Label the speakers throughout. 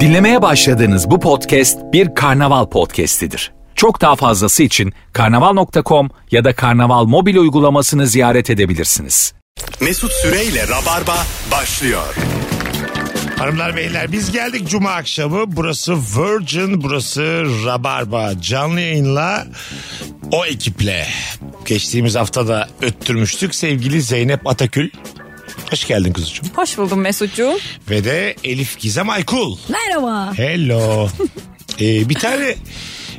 Speaker 1: Dinlemeye başladığınız bu podcast bir karnaval podcastidir. Çok daha fazlası için karnaval.com ya da karnaval mobil uygulamasını ziyaret edebilirsiniz.
Speaker 2: Mesut Süreyle Rabarba başlıyor.
Speaker 3: Hanımlar beyler biz geldik cuma akşamı. Burası Virgin, burası Rabarba. Canlı yayınla o ekiple. Geçtiğimiz hafta da öttürmüştük sevgili Zeynep Atakül. Hoş geldin kuzucuğum.
Speaker 4: Hoş buldum Mesut'cuğum.
Speaker 3: Ve de Elif Gizem Aykul.
Speaker 4: Merhaba.
Speaker 3: Hello. Ee, bir tane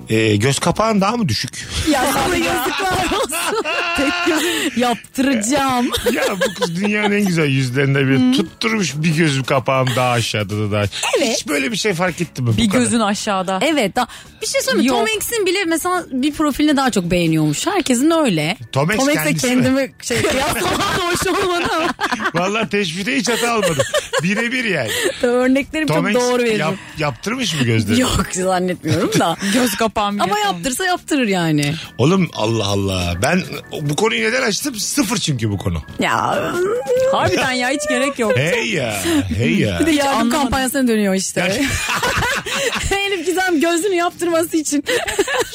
Speaker 3: e, göz kapağın daha mı düşük?
Speaker 4: Ya sana yazıklar olsun. Yaptıracağım.
Speaker 3: ya bu kız dünyanın en güzel yüzlerinde bir tutturmuş bir gözüm kapağım daha aşağıda da daha.
Speaker 5: Evet.
Speaker 3: Hiç böyle bir şey fark etti mi? bu
Speaker 4: Bir
Speaker 3: kadar?
Speaker 4: gözün aşağıda.
Speaker 5: Evet. da- bir şey söyleyeyim mi?
Speaker 4: Yok.
Speaker 5: Tom Hanks'in bile mesela bir profilini daha çok beğeniyormuş. Herkesin öyle.
Speaker 3: Tom Hanks
Speaker 5: Hanks'le
Speaker 3: kendisi mi?
Speaker 5: kendimi şey kıyaslamam da hoş olmadı ama.
Speaker 3: Vallahi teşbihte hiç hata almadım. Birebir yani.
Speaker 5: Tabii Örneklerim
Speaker 3: Tom
Speaker 5: çok
Speaker 3: Hanks
Speaker 5: doğru veririm.
Speaker 3: yap- yaptırmış mı gözleri?
Speaker 5: Yok zannetmiyorum da.
Speaker 4: Göz kapağım.
Speaker 5: ama yaptırsa yaptırır yani.
Speaker 3: Oğlum Allah Allah. Ben bu konuyu neden açtım? Sıfır çünkü bu konu.
Speaker 5: Ya.
Speaker 4: Harbiden ya hiç gerek yok.
Speaker 3: Hey ya. Hey ya.
Speaker 5: Bir de yardım
Speaker 4: anlamadım.
Speaker 5: kampanyasına dönüyor işte. Elif Gizem gözünü yaptırması için.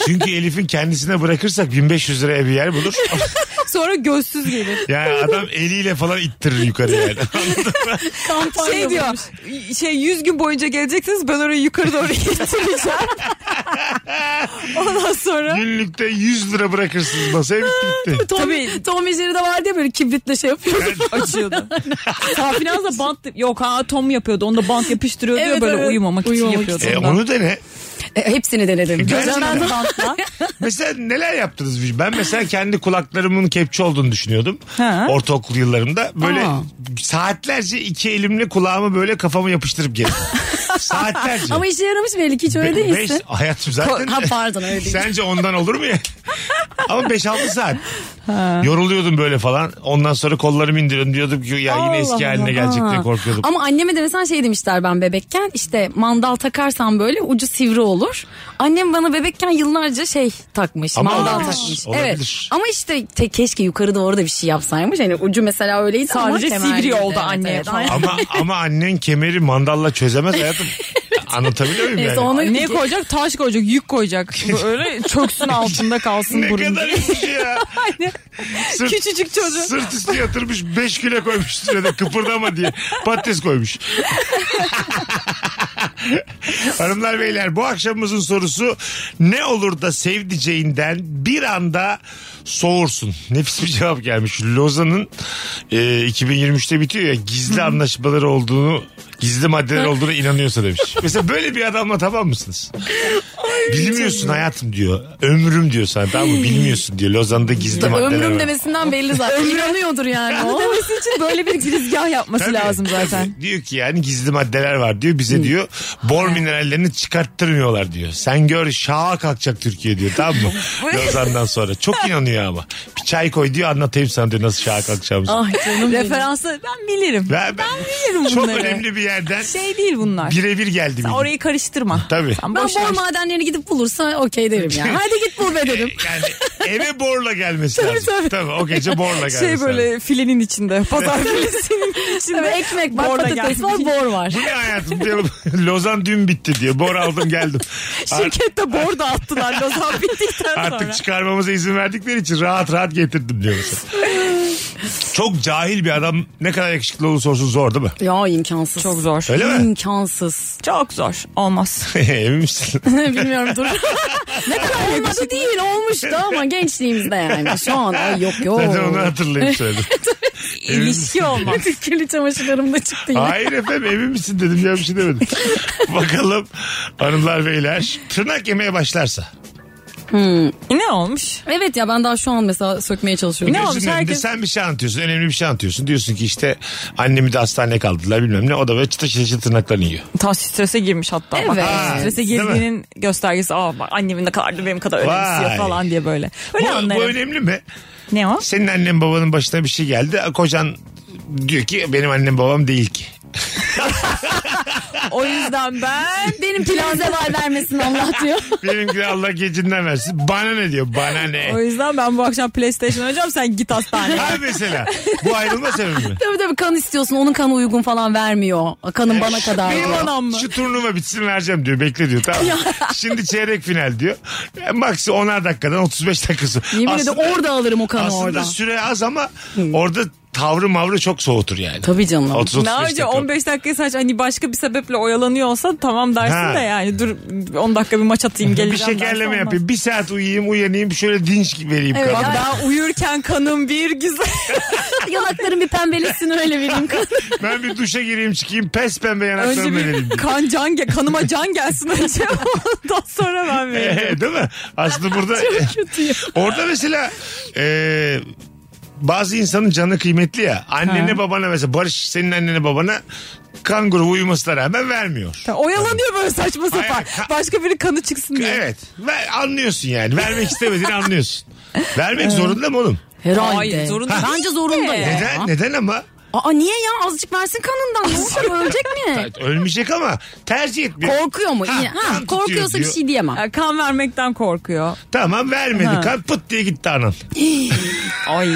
Speaker 3: Çünkü Elif'in kendisine bırakırsak 1500 liraya bir yer bulur.
Speaker 4: Sonra gözsüz gelir.
Speaker 3: Yani adam eliyle falan ittirir yukarı yani.
Speaker 5: Kampanya
Speaker 4: Şey diyor
Speaker 5: bulmuş.
Speaker 4: şey 100 gün boyunca geleceksiniz ben orayı yukarı doğru getireceğim. Ondan sonra
Speaker 3: Günlükte 100 lira bırakırsınız masaya bitti gitti.
Speaker 5: Tom,
Speaker 4: Tabii.
Speaker 5: Tom ve Jerry'de vardı ya böyle kibritle şey yapıyor.
Speaker 4: açıyordu. Safinaz da bant yok ha Tom yapıyordu. Onda bant yapıştırıyordu ya
Speaker 5: Evet,
Speaker 4: böyle
Speaker 5: evet.
Speaker 4: uyumamak için
Speaker 5: Uyumamak
Speaker 4: yapıyordu.
Speaker 3: E,
Speaker 4: ondan.
Speaker 3: onu dene.
Speaker 5: E, hepsini denedim.
Speaker 3: Gerçekten.
Speaker 5: Gözlemden
Speaker 4: bantla.
Speaker 3: Mesela neler yaptınız? Ben mesela kendi kulaklarımın kepçe olduğunu düşünüyordum.
Speaker 4: Ha.
Speaker 3: Ortaokul yıllarımda. Böyle
Speaker 5: Aa.
Speaker 3: saatlerce iki elimle kulağımı böyle kafamı yapıştırıp gezdim. saatlerce.
Speaker 5: Ama işe yaramış belli ki hiç öyle
Speaker 3: Be-
Speaker 5: değilsin.
Speaker 3: beş- hayatım zaten.
Speaker 5: Ha, pardon, öyle değil.
Speaker 3: Sence ondan olur mu ya? Ama 5-6 saat. Yoruluyordum böyle falan. Ondan sonra kollarımı indiriyordum. Diyordum ki ya yine
Speaker 5: Allah
Speaker 3: eski
Speaker 5: Allah.
Speaker 3: haline gelecek diye
Speaker 5: Ha.
Speaker 3: korkuyordum.
Speaker 5: Ama anneme de mesela şey demişler ben bebekken işte mandal takarsam böyle ucu sivri olur. Annem bana bebekken yıllarca şey takmış
Speaker 3: Ama
Speaker 5: mandal
Speaker 3: olabilir,
Speaker 5: takmış.
Speaker 3: olabilir.
Speaker 5: Evet. Ama işte te- keşke yukarı doğru da bir şey yapsaymış. Hani ucu mesela öyleydi
Speaker 4: Sadece
Speaker 5: ama kemerliydi.
Speaker 4: sivri oldu
Speaker 5: Evet,
Speaker 4: anneye
Speaker 5: evet,
Speaker 4: falan.
Speaker 5: aynen.
Speaker 3: Ama, ama annen kemeri mandalla çözemez hayatım. Anlatabiliyor muyum
Speaker 5: Neyse
Speaker 3: yani?
Speaker 5: onu
Speaker 4: Ne koyacak? Taş koyacak, yük koyacak. Böyle çöksün altında kalsın
Speaker 3: Ne
Speaker 4: burun.
Speaker 3: kadar üzücü ya. Sırt-
Speaker 4: Küçücük çocuğu.
Speaker 3: Sırt üstü yatırmış 5 kilo koymuş üstüne de kıpırdama diye patates koymuş. Hanımlar beyler bu akşamımızın sorusu ne olur da sevdiceğinden bir anda soğursun. Nefis bir cevap gelmiş. Lozan'ın e, 2023'te bitiyor ya gizli anlaşmaları olduğunu gizli maddeler olduğuna inanıyorsa demiş. Mesela böyle bir adamla tamam mısınız? Bilmiyorsun hayatım diyor. Ömrüm diyor sana tamam mı? Bilmiyorsun diyor. Lozan'da gizli maddeler
Speaker 5: ömrüm
Speaker 3: var.
Speaker 5: demesinden belli zaten. İnanıyordur yani o.
Speaker 4: Demesi için böyle bir girizgah yapması
Speaker 3: Tabii,
Speaker 4: lazım
Speaker 3: tabii.
Speaker 4: zaten.
Speaker 3: Diyor ki yani gizli maddeler var diyor bize diyor. Bor minerallerini çıkarttırmıyorlar diyor. Sen gör şaha kalkacak Türkiye diyor tamam mı? Lozan'dan sonra. Çok inanıyor ama. Bir çay koy diyor anlatayım sana diyor nasıl şaha kalkacağımızı.
Speaker 5: Ay canım benim.
Speaker 4: Referansı ben bilirim.
Speaker 3: Ben, ben
Speaker 4: bilirim
Speaker 3: çok
Speaker 4: bunları.
Speaker 3: önemli bir yerden
Speaker 4: Şey değil bunlar.
Speaker 3: birebir geldi.
Speaker 4: Sen
Speaker 3: bilgi.
Speaker 4: orayı karıştırma.
Speaker 3: Tabii.
Speaker 4: Sen
Speaker 5: Ben
Speaker 4: boş ver.
Speaker 5: bor madenlerini gidip bulursa okey derim ya. Hadi git bul be derim.
Speaker 3: Yani eve borla gelmesi lazım. Tabii.
Speaker 4: tabii.
Speaker 3: o gece borla gelmesi
Speaker 4: Şey
Speaker 3: lazım.
Speaker 4: böyle filenin içinde. Pazar filesinin içinde.
Speaker 5: Tabii ekmek var,
Speaker 4: Borla
Speaker 5: patates
Speaker 4: gelmiş.
Speaker 5: var, bor var.
Speaker 3: Bu ne hayatım diyor. Lozan dün bitti diyor. Bor aldım geldim. Ar-
Speaker 4: Şirkette bor da attılar Lozan bittikten sonra.
Speaker 3: Artık çıkarmamıza izin verdikleri için rahat rahat getirdim diyor mesela. Çok cahil bir adam ne kadar yakışıklı olursa olsun zor değil mi?
Speaker 5: Ya imkansız.
Speaker 4: Çok zor.
Speaker 3: Öyle mi?
Speaker 5: İmkansız.
Speaker 4: Çok zor. Olmaz.
Speaker 3: Emin misin?
Speaker 5: Bilmiyorum dur. ne kadar olmadı değil olmuştu ama gençliğimizde yani. Şu an ay yok yok.
Speaker 3: Zaten onu hatırlayıp söyledim. Emin misin?
Speaker 4: İlişki olmaz.
Speaker 5: Kirli çamaşırlarım da çıktı yine.
Speaker 3: Hayır efendim emin misin dedim ya bir şey demedim. Bakalım hanımlar beyler tırnak yemeye başlarsa.
Speaker 4: ne olmuş?
Speaker 5: Evet ya ben daha şu an mesela sökmeye çalışıyorum.
Speaker 4: Ne olmuş?
Speaker 3: Gözünün önünde
Speaker 4: Herkes-
Speaker 3: sen bir şey anlatıyorsun önemli bir şey anlatıyorsun. Diyorsun ki işte annemi de hastaneye kaldırdılar bilmem ne o da böyle çıtır çıtır çıtır tırnaklarını yiyor.
Speaker 4: Tam strese girmiş hatta. Bak,
Speaker 5: Evet.
Speaker 3: Ha,
Speaker 4: strese
Speaker 3: değil mi?
Speaker 4: girdiğinin göstergesi. Aa bak annemin ne kadar da benim kadar
Speaker 3: Vay.
Speaker 4: önemsiyor falan diye böyle. Öyle
Speaker 3: Bu,
Speaker 4: anlarım.
Speaker 3: bu önemli mi?
Speaker 4: Ne o?
Speaker 3: Senin annen babanın başına bir şey geldi. Kocan diyor ki benim annem babam değil ki.
Speaker 4: O yüzden ben
Speaker 5: Benim plaze var vermesin Allah diyor.
Speaker 3: Benimki Allah gecinden versin. Bana ne diyor? Bana
Speaker 4: o
Speaker 3: ne?
Speaker 4: yüzden ben bu akşam PlayStation oynayacağım sen git hastaneye.
Speaker 3: Ha mesela. Bu ayrılma sebebi mi?
Speaker 5: tabii tabii kan istiyorsun onun kanı uygun falan vermiyor. Kanın bana kadar.
Speaker 4: Benim
Speaker 5: diyor.
Speaker 4: anam mı?
Speaker 3: Şu turnuva bitsin vereceğim diyor. Bekle diyor tamam. mı? Şimdi çeyrek final diyor. E, Maksi 10'ar dakikadan 35 dakikası.
Speaker 5: Yemin ederim
Speaker 3: Aslında-
Speaker 5: orada alırım o kanı
Speaker 3: Aslında
Speaker 5: orada.
Speaker 3: süre az ama orada tavrı mavrı çok soğutur yani.
Speaker 5: Tabii canım.
Speaker 3: 30
Speaker 4: Ne önce 15 dakikayı saç hani başka bir sebeple oyalanıyor olsa tamam dersin
Speaker 3: Ha.
Speaker 4: de yani dur 10 dakika bir maç atayım
Speaker 3: bir
Speaker 4: geleceğim dersin,
Speaker 3: şekerleme
Speaker 4: olmaz.
Speaker 3: yapayım. Bir saat uyuyayım uyanayım şöyle dinç vereyim.
Speaker 4: Evet,
Speaker 3: kadına.
Speaker 4: bak daha uyurken kanım bir güzel.
Speaker 5: Yanakların bir pembeleşsin öyle vereyim kanı.
Speaker 3: Ben bir duşa gireyim çıkayım pes pembe
Speaker 4: önce
Speaker 3: yanaklarımla vereyim.
Speaker 4: bir kan can ge- kanıma can gelsin önce ondan sonra ben veririm.
Speaker 3: Ee, Değil mi? Aslında burada orada mesela e, bazı insanın canı kıymetli ya. Annene babana mesela Barış senin annene babana kan grubu uyumasına rağmen vermiyor.
Speaker 4: Oyalanıyor böyle saçma sapan.
Speaker 3: Hayır, ka-
Speaker 4: Başka biri kanı çıksın diye.
Speaker 3: Evet. Ver, anlıyorsun yani. Vermek istemediğini anlıyorsun. Vermek zorunda mı oğlum?
Speaker 5: Herhalde.
Speaker 4: Hayır, zorunda değil.
Speaker 5: Bence zorunda ya.
Speaker 3: Neden? Neden ama?
Speaker 5: Aa niye ya azıcık versin kanından. Ne olacak ölecek mi?
Speaker 3: Ölmeyecek ama tercih etmiyor.
Speaker 5: Korkuyor mu?
Speaker 3: Ha,
Speaker 5: İyi.
Speaker 3: kan
Speaker 5: Ha,
Speaker 3: tutuyor
Speaker 5: korkuyorsa bir
Speaker 3: diyor.
Speaker 5: şey diyemem.
Speaker 4: Ya kan vermekten korkuyor.
Speaker 3: Tamam vermedi.
Speaker 4: Ha.
Speaker 3: Kan pıt diye gitti anan.
Speaker 4: Ay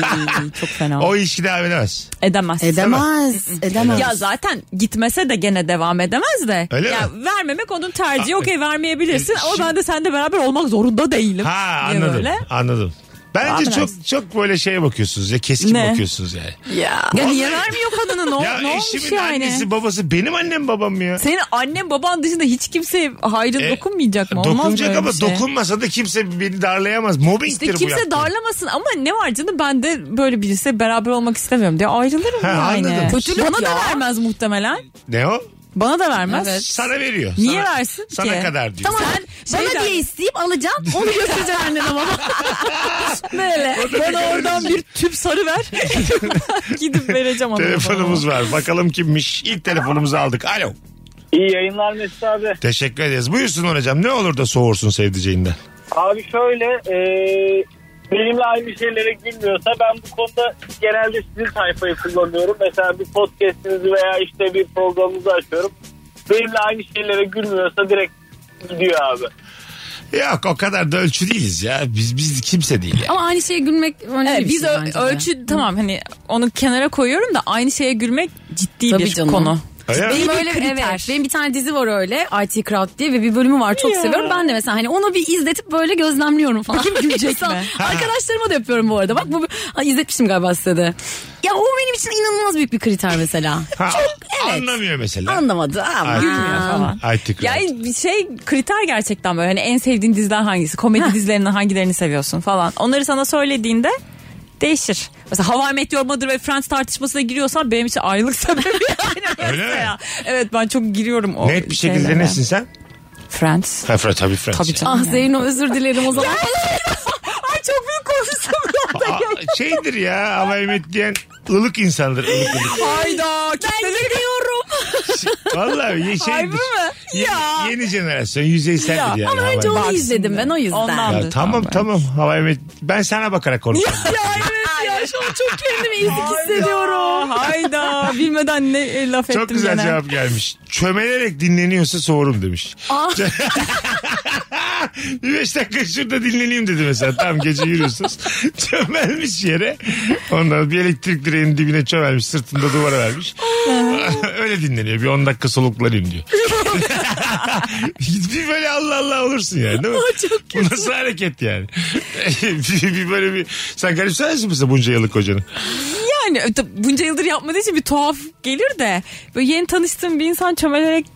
Speaker 4: çok fena.
Speaker 3: O ilişki devam edemez.
Speaker 4: Edemez.
Speaker 5: Edemez. Edemez.
Speaker 4: Ya zaten gitmese de gene devam edemez de.
Speaker 3: Öyle
Speaker 4: ya
Speaker 3: mi?
Speaker 4: vermemek onun tercihi.
Speaker 3: Ha,
Speaker 4: Okey vermeyebilirsin
Speaker 3: e,
Speaker 4: ama
Speaker 3: şimdi-
Speaker 4: ben de seninle beraber olmak zorunda değilim.
Speaker 3: Ha
Speaker 4: Diye
Speaker 3: anladım.
Speaker 4: böyle.
Speaker 3: Anladım. Bence
Speaker 4: Tahmin
Speaker 3: çok çok böyle şeye bakıyorsunuz ya keskin
Speaker 4: Ne?
Speaker 3: bakıyorsunuz yani.
Speaker 5: ya.
Speaker 4: Ya niye vermiyor kadını ne,
Speaker 3: ya
Speaker 4: ne olmuş
Speaker 3: eşimin
Speaker 4: yani?
Speaker 3: annesi babası benim annem babam ya.
Speaker 4: Senin annen baban dışında hiç kimseye hayrın
Speaker 3: E,
Speaker 4: dokunmayacak mı? Olmaz
Speaker 3: Dokunacak
Speaker 4: böyle
Speaker 3: ama
Speaker 4: bir şey.
Speaker 3: dokunmasa da kimse beni darlayamaz. Mobbingtir
Speaker 4: İşte
Speaker 3: bu
Speaker 4: kimse
Speaker 3: yaptığım.
Speaker 4: darlamasın ama ne var canım ben de böyle birisiyle beraber olmak istemiyorum diye ayrılırım
Speaker 3: Ha,
Speaker 4: yani.
Speaker 3: anladım.
Speaker 5: Kötülük
Speaker 4: Bana da
Speaker 5: ya.
Speaker 4: vermez muhtemelen.
Speaker 3: Ne o?
Speaker 4: Bana da vermez.
Speaker 3: Sana veriyor.
Speaker 4: Niye
Speaker 3: sana,
Speaker 4: versin
Speaker 3: sana
Speaker 4: ki?
Speaker 3: kadar diyor.
Speaker 5: Tamam.
Speaker 4: Sen
Speaker 5: bana
Speaker 4: şeyden-
Speaker 5: diye isteyip alacağım. Onu götüreceğim annene baba.
Speaker 4: Böyle. Bana oradan bir tüp sarı ver. Gidip vereceğim onu.
Speaker 3: Telefonumuz var. Bakalım kimmiş? İlk telefonumuzu aldık. Alo.
Speaker 6: İyi yayınlar Mesut abi.
Speaker 3: Teşekkür ederiz. Buyursun hocam. Ne olur da soğursun sevdiceğinden.
Speaker 6: Abi şöyle e, benimle aynı şeylere gülmüyorsa ben bu konuda genelde sizin sayfayı kullanıyorum. Mesela bir podcastinizi veya işte bir programınızı açıyorum. Benimle aynı şeylere gülmüyorsa direkt gidiyor abi.
Speaker 3: Yok o kadar da ölçü değiliz ya. Biz biz kimse değil ya.
Speaker 5: Ama aynı şeye gülmek önemli
Speaker 4: Evet,
Speaker 5: bir
Speaker 4: biz
Speaker 5: şey
Speaker 4: ö-
Speaker 5: bence de.
Speaker 4: ölçü tamam hani onu kenara koyuyorum da aynı şeye gülmek ciddi
Speaker 5: Tabii
Speaker 4: bir
Speaker 5: canım.
Speaker 4: konu.
Speaker 3: Öyle mi?
Speaker 5: Benim
Speaker 4: bir
Speaker 5: öyle
Speaker 4: kriter.
Speaker 5: evet. Benim bir tane dizi var öyle IT Crowd diye ve bir bölümü var çok seviyorum. Ben de mesela hani onu bir izletip böyle gözlemliyorum falan. Kim
Speaker 4: gülecek mi?
Speaker 5: Arkadaşlarıma da yapıyorum bu arada. Bak bu ha, izletmişim galiba size de. Ya o benim için inanılmaz büyük bir kriter mesela.
Speaker 3: Ha,
Speaker 5: evet.
Speaker 3: Anlamıyor mesela.
Speaker 5: Anlamadı ama.
Speaker 3: Ay,
Speaker 4: Gülmüyor falan.
Speaker 3: Ay tıkır.
Speaker 4: Yani bir şey kriter gerçekten böyle hani en sevdiğin diziler hangisi? Komedi dizilerinden hangilerini seviyorsun falan. Onları sana söylediğinde değişir. Mesela Hava I Met Your Mother ve Friends tartışmasına giriyorsan benim için ayrılık sebebi. yani
Speaker 3: Öyle mi?
Speaker 4: mesela. Evet ben çok giriyorum o
Speaker 3: Net bir şekilde
Speaker 4: şeylere.
Speaker 3: nesin sen?
Speaker 4: Friends.
Speaker 3: Ha, Fred, tabii Fred.
Speaker 4: Tabii
Speaker 3: Tabii
Speaker 4: canım.
Speaker 5: Ah Zeyno özür dilerim o zaman.
Speaker 4: Ay çok büyük konuştum.
Speaker 3: şeydir ya Hava Mehmet diyen ılık insandır. Ilık ılık.
Speaker 4: Hayda.
Speaker 5: ben gidiyorum.
Speaker 3: Vallahi ye- şeydir.
Speaker 4: Harbi mi?
Speaker 3: Ye-
Speaker 4: Ya.
Speaker 3: Yeni jenerasyon yüzeyseldir
Speaker 4: Ya,
Speaker 3: yani.
Speaker 5: Ama
Speaker 3: Hava
Speaker 5: önce onu
Speaker 3: Mehmet.
Speaker 5: izledim ben o yüzden.
Speaker 4: Ondan.
Speaker 3: Ya, tamam tamam. Hava Mehmet ben sana bakarak konuşuyorum.
Speaker 4: Ya evet ya şu an çok kendimi ezik hissediyorum. Hayda bilmeden ne e, laf ettim
Speaker 3: Çok güzel
Speaker 4: gene.
Speaker 3: cevap gelmiş. Çömelerek dinleniyorsa soğurum demiş.
Speaker 5: Ah.
Speaker 3: bir beş dakika şurada dinleneyim dedi mesela. Tam gece yürüyorsunuz. çömelmiş yere. Ondan bir elektrik direğinin dibine çömelmiş. Sırtında duvara vermiş. Öyle dinleniyor. Bir 10 dakika soluklanayım diyor. bir böyle Allah Allah olursun yani değil mi? Çok Bu nasıl hareket yani? bir, bir böyle bir... Sen garipser misin mesela bunca yıllık kocanı?
Speaker 4: Yani e, tab- bunca yıldır yapmadığı için bir tuhaf gelir de böyle yeni tanıştığım bir insan çömelerek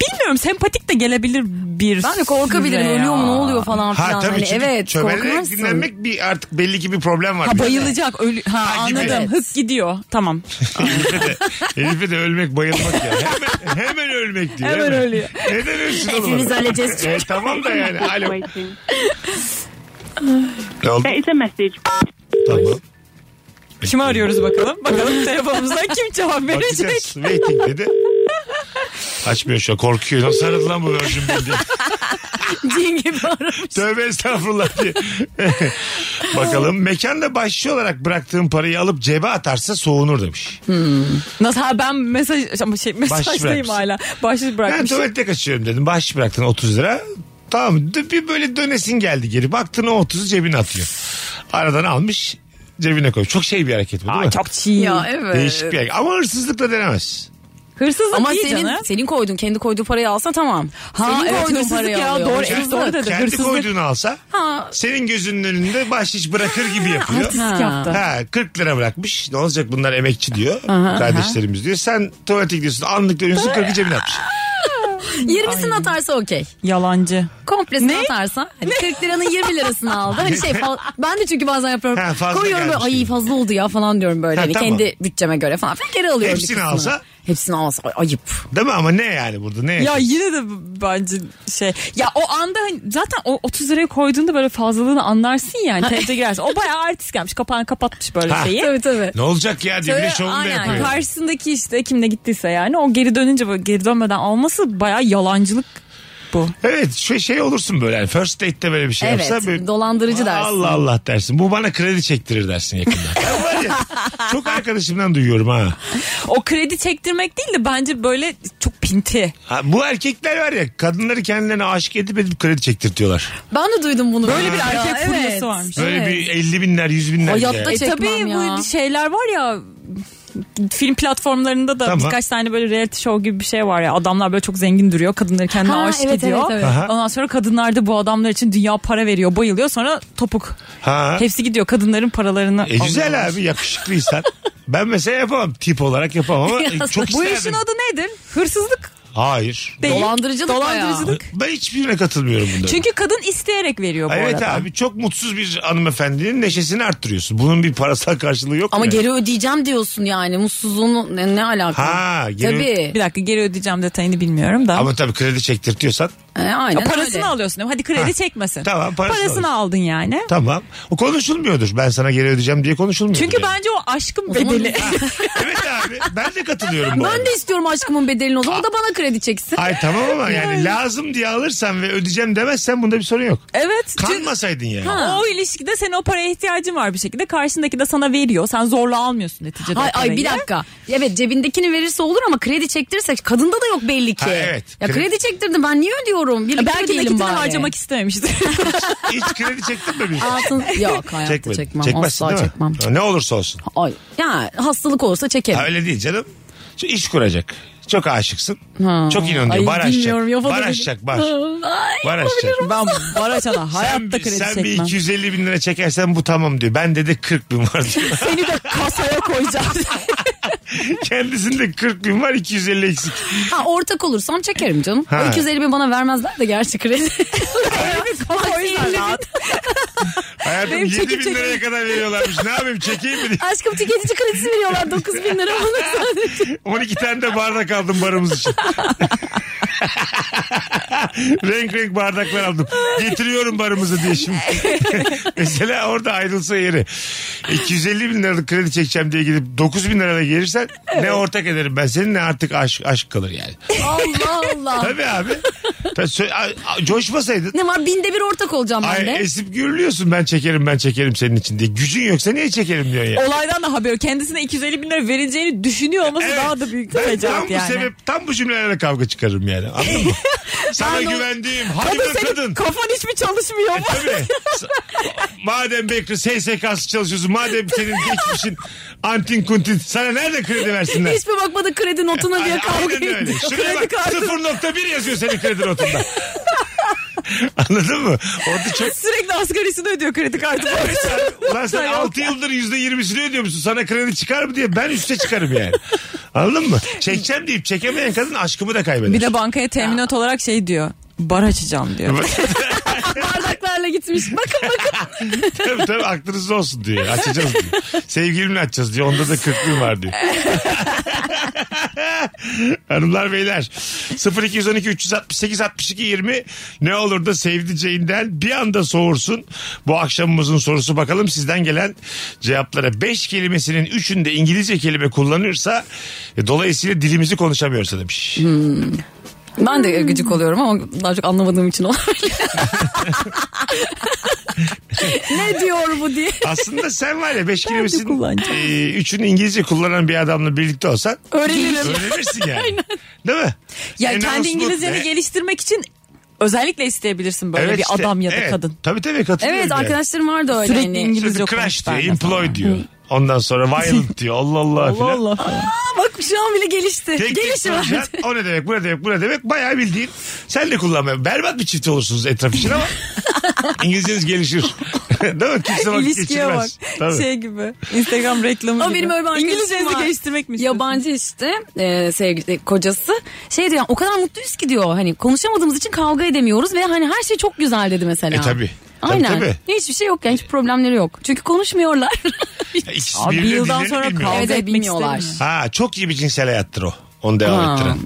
Speaker 4: bilmiyorum sempatik de gelebilir bir
Speaker 5: Ben de korkabilirim
Speaker 4: süre ya.
Speaker 5: ölüyor mu ne oluyor falan filan.
Speaker 3: Ha tabii
Speaker 5: hani,
Speaker 3: çünkü
Speaker 5: evet
Speaker 3: çömelerek
Speaker 5: korkarsın.
Speaker 3: dinlenmek bir artık belli ki bir problem var.
Speaker 4: Ha
Speaker 3: Bir-
Speaker 4: bayılacak ölü ha,
Speaker 3: Ha, gibi.
Speaker 4: anladım
Speaker 5: Evet.
Speaker 4: hık gidiyor tamam
Speaker 3: Herife de, herife de ölmek bayılmak ya. Hemen, hemen ölmek diyor.
Speaker 4: Hemen ölüyor.
Speaker 3: Neden ölsün oğlum?
Speaker 5: Hepimiz öleceğiz çünkü.
Speaker 3: E, tamam da yani. Alo.
Speaker 7: waiting.
Speaker 3: Ne oldu?
Speaker 7: There is a message.
Speaker 3: Tamam.
Speaker 4: kimi arıyoruz bakalım bakalım telefonumuzdan kim cevap verecek
Speaker 3: Bakacağız. Waiting dedi. Açmıyor şu an korkuyor. Lan sarıldı lan bu Virgin Bey diye.
Speaker 5: Cin gibi aramış.
Speaker 3: Tövbe estağfurullah diye. Bakalım mekanda başçı olarak bıraktığım parayı alıp cebe atarsa soğunur demiş.
Speaker 4: Nasıl ha ben mesaj ama şey mesajdayım
Speaker 3: bırakmış.
Speaker 4: hala. Başlık
Speaker 3: Ben
Speaker 4: bırakmışım.
Speaker 3: tuvalette kaçıyorum dedim. Bahşiş bıraktın 30 lira. Tamam d- bir böyle dönesin geldi geri. Baktın o 30'u cebine atıyor. Aradan almış cebine koy. Çok şey bir hareket bu değil mi?
Speaker 4: Aa, çok çiğ.
Speaker 5: Ya evet.
Speaker 3: Değişik bir hareket. Ama hırsızlık da denemez.
Speaker 4: Hırsızlık
Speaker 5: Ama
Speaker 4: iyi
Speaker 5: senin
Speaker 4: canım.
Speaker 5: senin koyduğun kendi koyduğu parayı alsa tamam.
Speaker 4: Ha,
Speaker 5: senin
Speaker 4: evet,
Speaker 5: koyduğun
Speaker 4: hırsızlık ya,
Speaker 5: alıyor.
Speaker 4: doğru,
Speaker 5: Hırsızlık.
Speaker 4: evet, doğru dedin.
Speaker 3: Kendi
Speaker 4: hırsızlık.
Speaker 3: koyduğunu alsa
Speaker 5: Ha.
Speaker 3: senin gözünün önünde bahşiş bırakır gibi yapıyor.
Speaker 4: Artistlik yaptı.
Speaker 3: Ha 40 lira bırakmış. Ne olacak bunlar emekçi diyor. kardeşlerimiz diyor. Sen tuvalete gidiyorsun. Anlık dönüyorsun 40'ı cebine atmış.
Speaker 5: 20'sini atarsa okey.
Speaker 4: Yalancı.
Speaker 5: Komplesini atarsa. Hani 40 liranın 20 lirasını aldı. Hani şey fal- ben de çünkü bazen yapıyorum.
Speaker 3: Ha, fazla
Speaker 5: Koyuyorum böyle
Speaker 3: gelmiş
Speaker 5: ay
Speaker 3: gibi.
Speaker 5: fazla oldu ya falan diyorum böyle.
Speaker 3: Ha,
Speaker 5: hani
Speaker 3: tamam.
Speaker 5: Kendi bütçeme göre falan. Ben geri alıyorum. bir
Speaker 3: Hepsini
Speaker 5: kısmını.
Speaker 3: alsa?
Speaker 5: Hepsini alsa ay- ayıp.
Speaker 3: Değil mi? Ama ne yani burada? Ne
Speaker 4: Ya
Speaker 3: yaşıyorsun?
Speaker 4: yine de b- bence şey. Ya o anda hani zaten o 30 liraya koyduğunda böyle fazlalığını anlarsın yani. Tevte girersin. O bayağı artist gelmiş. Kapağını kapatmış böyle
Speaker 3: Ha.
Speaker 4: şeyi.
Speaker 5: Tabii tabii.
Speaker 3: Ne olacak ya diye bir de
Speaker 5: Söyle,
Speaker 3: şovunu da
Speaker 5: aynen.
Speaker 3: yapıyor.
Speaker 4: Karşısındaki işte kimle gittiyse yani o geri dönünce böyle geri dönmeden alması bayağı yalancılık bu.
Speaker 3: Evet şey, şey olursun böyle yani first date'te böyle bir şey
Speaker 5: Evet,
Speaker 3: yapsa. Böyle,
Speaker 5: dolandırıcı dersin.
Speaker 3: Allah Allah dersin. Bu bana kredi çektirir dersin yakında. Ben var ya, çok arkadaşımdan duyuyorum ha.
Speaker 4: O kredi çektirmek değil de bence böyle çok pinti.
Speaker 3: ha. Bu erkekler var ya kadınları kendilerine aşık edip edip kredi çektirtiyorlar.
Speaker 5: Ben de duydum bunu.
Speaker 4: Böyle bir
Speaker 5: Ya,
Speaker 4: erkek furyası varmış.
Speaker 3: Böyle bir 50 binler 100 binler.
Speaker 5: Hayatta
Speaker 3: bile.
Speaker 5: çekmem
Speaker 4: E tabii
Speaker 5: ya.
Speaker 4: bu şeyler var ya film platformlarında da
Speaker 3: Tamam.
Speaker 4: birkaç tane böyle reality show gibi bir şey var ya. Adamlar böyle çok zengin duruyor. Kadınları kendine
Speaker 5: Ha,
Speaker 4: aşık
Speaker 5: evet,
Speaker 4: ediyor.
Speaker 5: evet, evet.
Speaker 3: Aha.
Speaker 4: Ondan sonra kadınlar da bu adamlar için dünya para veriyor. Bayılıyor sonra topuk.
Speaker 3: Ha.
Speaker 4: Hepsi gidiyor kadınların paralarını
Speaker 3: E güzel
Speaker 4: alıyorlar.
Speaker 3: abi yakışıklıysan. ben mesela yapamam. Tip olarak yapamam ama e, çok
Speaker 4: Bu
Speaker 3: isterdim.
Speaker 4: işin adı nedir? Hırsızlık
Speaker 3: Hayır.
Speaker 4: değil.
Speaker 5: Dolandırıcılık
Speaker 4: Dolandırıcılık.
Speaker 3: Ben hiçbirine katılmıyorum bunda.
Speaker 4: Çünkü kadın isteyerek veriyor bu
Speaker 3: evet
Speaker 4: arada.
Speaker 3: abi çok mutsuz bir hanımefendinin neşesini arttırıyorsun. Bunun bir parasal karşılığı yok
Speaker 5: Ama
Speaker 3: mu?
Speaker 5: geri ödeyeceğim diyorsun yani. Mutsuzluğun ne, ne alaka?
Speaker 3: Ha, geri-
Speaker 5: Tabii.
Speaker 4: Bir dakika geri ödeyeceğim detayını bilmiyorum da.
Speaker 3: Ama tabii kredi çektirtiyorsan
Speaker 5: E, aynen
Speaker 4: Ya parasını
Speaker 5: öyle.
Speaker 4: alıyorsun. Hadi kredi
Speaker 3: Ha.
Speaker 4: çekmesin.
Speaker 3: Tamam, parasını
Speaker 4: aldın yani.
Speaker 3: tamam. O konuşulmuyordur. Ben sana geri ödeyeceğim diye konuşulmuyordur.
Speaker 4: Çünkü
Speaker 3: yani.
Speaker 4: bence o aşkın
Speaker 5: zaman-
Speaker 4: bedeli.
Speaker 3: Evet abi ben de katılıyorum bu arada.
Speaker 5: Ben de istiyorum aşkımın bedelini o zaman. O da bana kredi çeksin.
Speaker 3: Ay tamam ama yani lazım diye alırsan ve ödeyeceğim demezsen bunda bir sorun yok.
Speaker 4: evet. Çünkü
Speaker 3: Kanmasaydın yani.
Speaker 4: o ilişkide senin o paraya ihtiyacın var bir şekilde. Karşındaki de sana veriyor. Sen zorla almıyorsun neticede.
Speaker 5: Ay,
Speaker 4: o
Speaker 5: ay bir
Speaker 4: parayı.
Speaker 5: dakika. Evet cebindekini verirse olur ama kredi çektirirse kadında da yok belli ki.
Speaker 3: Ha, evet.
Speaker 5: Ya
Speaker 3: Kredi-
Speaker 5: kredi, çektirdim ben niye ödüyorum? Birlikte
Speaker 4: Belki
Speaker 5: ödeyelim
Speaker 4: nakitini
Speaker 5: bari.
Speaker 4: harcamak istememiştir.
Speaker 3: Hiç kredi çektin mi bir?
Speaker 5: Altın yok hayatta
Speaker 3: Çekmedin.
Speaker 5: çekmem.
Speaker 3: Çekmezsin
Speaker 5: Asla
Speaker 3: değil mi?
Speaker 5: çekmem.
Speaker 3: Ne olursa olsun.
Speaker 5: Ay. Ya hastalık olursa çekerim.
Speaker 3: Ha, öyle değil canım. Şu iş kuracak. Çok aşıksın. Çok inanıyor.
Speaker 5: Ay,
Speaker 3: Bar açacak.
Speaker 5: bilmiyorum,
Speaker 3: Bar
Speaker 5: yapabilirim.
Speaker 3: açacak bar. Bar açacak.
Speaker 4: ben Baraçan'a
Speaker 3: Sen,
Speaker 4: hayatta
Speaker 3: bir-
Speaker 4: kredi
Speaker 3: sen bir
Speaker 4: çekmem.
Speaker 3: 250 bin lira çekersen bu tamam diyor. Bende de 40 bin var diyor.
Speaker 4: Seni de kasaya koyacağım.
Speaker 3: Kendisinde 40 bin var 250 eksik.
Speaker 5: Ha ortak olursam çekerim canım.
Speaker 3: Ha.
Speaker 5: O 250 bin bana vermezler de gerçi kredi.
Speaker 4: o yüzden rahat.
Speaker 3: Hayatım
Speaker 4: Benim
Speaker 3: 7
Speaker 4: çekip
Speaker 3: bin liraya kadar veriyorlarmış. Ne yapayım çekeyim mi diye.
Speaker 5: Aşkım tüketici kredisi veriyorlar 9 bin lira bana sadece.
Speaker 3: 12 tane de bardak aldım barımız için. renk renk bardaklar aldım. Getiriyorum barımızı diye şimdi. Mesela orada ayrılsa yeri. 250 bin liralık kredi çekeceğim diye gidip 9 bin liraya gelirsen ne ortak ederim ben senin ne artık aşk, aşk kalır yani.
Speaker 5: Allah Allah.
Speaker 3: Tabii abi. Ta- sö- a- a- Coşmasaydın.
Speaker 5: Ne var binde bir ortak olacağım ben
Speaker 3: Ay,
Speaker 5: de.
Speaker 3: esip gürülüyorsun ben çekerim ben çekerim senin için diye. Gücün yoksa niye çekerim diyorsun ya.
Speaker 4: Olaydan da haber. Kendisine 250 bin lira verileceğini düşünüyor olması
Speaker 3: Evet.
Speaker 4: daha da büyük bir
Speaker 3: Ben tam
Speaker 4: fecaat
Speaker 3: bu
Speaker 4: yani.
Speaker 3: sebep tam bu cümlelerle kavga çıkarırım yani. Anladın mı? Sana güvendiğim. Hadi
Speaker 4: Kadın
Speaker 3: be
Speaker 4: senin
Speaker 3: kadın. E,
Speaker 4: kafan hiç mi çalışmıyor mu?
Speaker 3: Tabii. S- madem Bekri SSK'sı çalışıyorsun. Madem senin geçmişin antin kuntin. Sana nerede kredi versinler?
Speaker 5: Hiçbir bakmadı kredi notuna diye
Speaker 3: Ay-
Speaker 5: kavga
Speaker 3: aynen öyle.
Speaker 5: ediyor.
Speaker 3: Şuraya bak 0.1 yazıyor senin kredi notunda. Anladın mı? Orada çok
Speaker 4: Sürekli asgarisini ödüyor kredi kartı. borcu.
Speaker 3: Lan sen 6 yıldır %20'sini ödüyor musun? Sana kredi çıkar mı diye ben üste çıkarım yani. Anladın mı? Çekeceğim deyip çekemeyen kadın aşkımı da kaybeder.
Speaker 4: Bir de bankaya teminat olarak şey diyor. Bar açacağım diyor.
Speaker 5: Bardaklarla gitmiş. Bakın bakın.
Speaker 3: tabii tabii aklınızda olsun diyor. Açacağız diyor. Sevgilimle açacağız diyor. Onda da kırklığım var diyor. Hanımlar beyler 0212 368 62 20 ne olur da sevdiceğinden bir anda soğursun. Bu akşamımızın sorusu bakalım sizden gelen cevaplara. 5 kelimesinin 3'ünde İngilizce kelime kullanıyorsa e, dolayısıyla dilimizi konuşamıyorsa demiş.
Speaker 4: Hmm.
Speaker 5: Ben de gıcık oluyorum ama daha çok anlamadığım için olabilir. ne diyor bu diye.
Speaker 3: Aslında sen var ya 5
Speaker 4: de
Speaker 3: kelimesinin
Speaker 4: kullanacağım.
Speaker 3: e, üçünü İngilizce kullanan bir adamla birlikte olsan
Speaker 5: Öğrenirim.
Speaker 3: öğrenirsin yani. Değil mi?
Speaker 4: Ya
Speaker 3: Enhanced
Speaker 4: kendi
Speaker 3: mood ne?
Speaker 4: İngilizceni geliştirmek için özellikle isteyebilirsin böyle
Speaker 3: Evet
Speaker 4: bir
Speaker 3: işte,
Speaker 4: adam ya da
Speaker 3: evet.
Speaker 4: kadın.
Speaker 3: Tabii tabii katılıyorum.
Speaker 5: Evet
Speaker 3: yani.
Speaker 5: arkadaşlarım vardı öyle.
Speaker 4: Sürekli
Speaker 5: hani.
Speaker 4: İngilizce
Speaker 3: Sürekli crash diyor,
Speaker 4: konuştular
Speaker 3: implode
Speaker 4: mesela.
Speaker 3: diyor. Ondan sonra violent diyor. Allah Allah
Speaker 4: Allah
Speaker 3: filan.
Speaker 4: Allah.
Speaker 5: Aa, bak şu an bile gelişti.
Speaker 3: Tek tek
Speaker 5: Gelişi var.
Speaker 3: soracaksın. O ne demek, bu ne demek, bu ne demek. Bayağı bildiğin. Sen de kullanma. Berbat bir çift olursunuz etraf için ama İngilizceniz gelişir. Değil mi? Kimse vakit
Speaker 4: İlişkiye bak.
Speaker 3: geçirmez. Tabii.
Speaker 4: Şey gibi. Instagram reklamı
Speaker 5: Ama
Speaker 4: gibi.
Speaker 5: benim öyle bir arkadaşım
Speaker 4: İngilizcenizi
Speaker 5: var.
Speaker 4: geliştirmek mi istiyorsun?
Speaker 5: Yabancı işte e, sevgili e, kocası şey diyor o kadar mutluyuz ki diyor hani konuşamadığımız için kavga edemiyoruz ve hani her şey çok güzel dedi mesela.
Speaker 3: E, tabii. Tabii,
Speaker 5: Aynen.
Speaker 3: tabii.
Speaker 5: Hiçbir şey yok yani hiç problemleri yok. Çünkü konuşmuyorlar.
Speaker 3: Ya ikisi
Speaker 4: Abi bir
Speaker 3: birbirinin
Speaker 4: yıldan
Speaker 3: dillerini
Speaker 4: sonra
Speaker 3: bilmiyor.
Speaker 4: kavga
Speaker 5: Evet,
Speaker 4: etmek
Speaker 5: bilmiyorlar.
Speaker 4: istemiyor.
Speaker 3: Ha çok iyi bir cinsel hayattır o. Onu devam
Speaker 5: Ha.
Speaker 3: ettiren.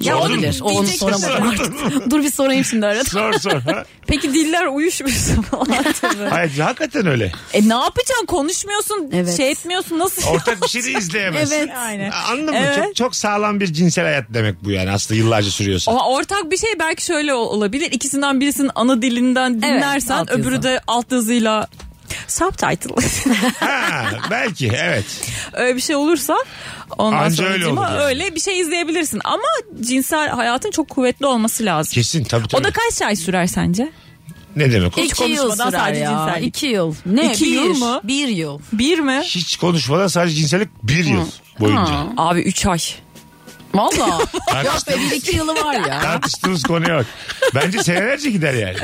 Speaker 5: ya
Speaker 3: Sordun
Speaker 5: olabilir.
Speaker 3: mu?
Speaker 5: O onu
Speaker 3: Diyecek misin?
Speaker 5: soramadım artık. Dur bir sorayım şimdi arada.
Speaker 3: Sor sor. Ha?
Speaker 4: Peki diller uyuşmuyorsa falan tabii.
Speaker 3: Hayır, hakikaten öyle.
Speaker 4: e ne yapacaksın? Konuşmuyorsun,
Speaker 5: Evet.
Speaker 4: şey etmiyorsun. Nasıl?
Speaker 3: Ortak bir şey de izleyemezsin.
Speaker 4: Evet, aynen.
Speaker 3: Anladın mı?
Speaker 4: Evet.
Speaker 3: Çok, çok sağlam bir cinsel hayat demek bu yani aslında yıllarca sürüyorsa.
Speaker 4: Ama ortak bir şey belki şöyle ol- olabilir. İkisinden birisinin ana dilinden dinlersen
Speaker 5: alt yazı.
Speaker 4: öbürü de alt yazıyla subtitle.
Speaker 3: Ha, belki evet.
Speaker 4: öyle bir şey olursa ondan
Speaker 3: Anca
Speaker 4: sonra
Speaker 3: öyle
Speaker 4: öyle,
Speaker 3: olur yani.
Speaker 4: bir şey izleyebilirsin. Ama cinsel hayatın çok kuvvetli olması lazım.
Speaker 3: Kesin tabii tabii.
Speaker 4: O da kaç ay sürer sence?
Speaker 3: Ne demek o?
Speaker 5: İki yıl
Speaker 4: konuşmadan
Speaker 5: sürer
Speaker 4: sadece
Speaker 5: ya.
Speaker 4: cinsellik.
Speaker 5: İki yıl. Ne?
Speaker 4: İki
Speaker 5: bir,
Speaker 4: yıl mı?
Speaker 5: Bir yıl.
Speaker 4: Bir mi?
Speaker 3: Hiç konuşmadan sadece cinsellik bir yıl boyunca.
Speaker 4: Abi 3 ay.
Speaker 5: Valla. Yok be
Speaker 3: Tartıştığımız,
Speaker 5: bir iki yılı var ya.
Speaker 3: tartıştığımız konuya bak. Bence senelerce gider yani.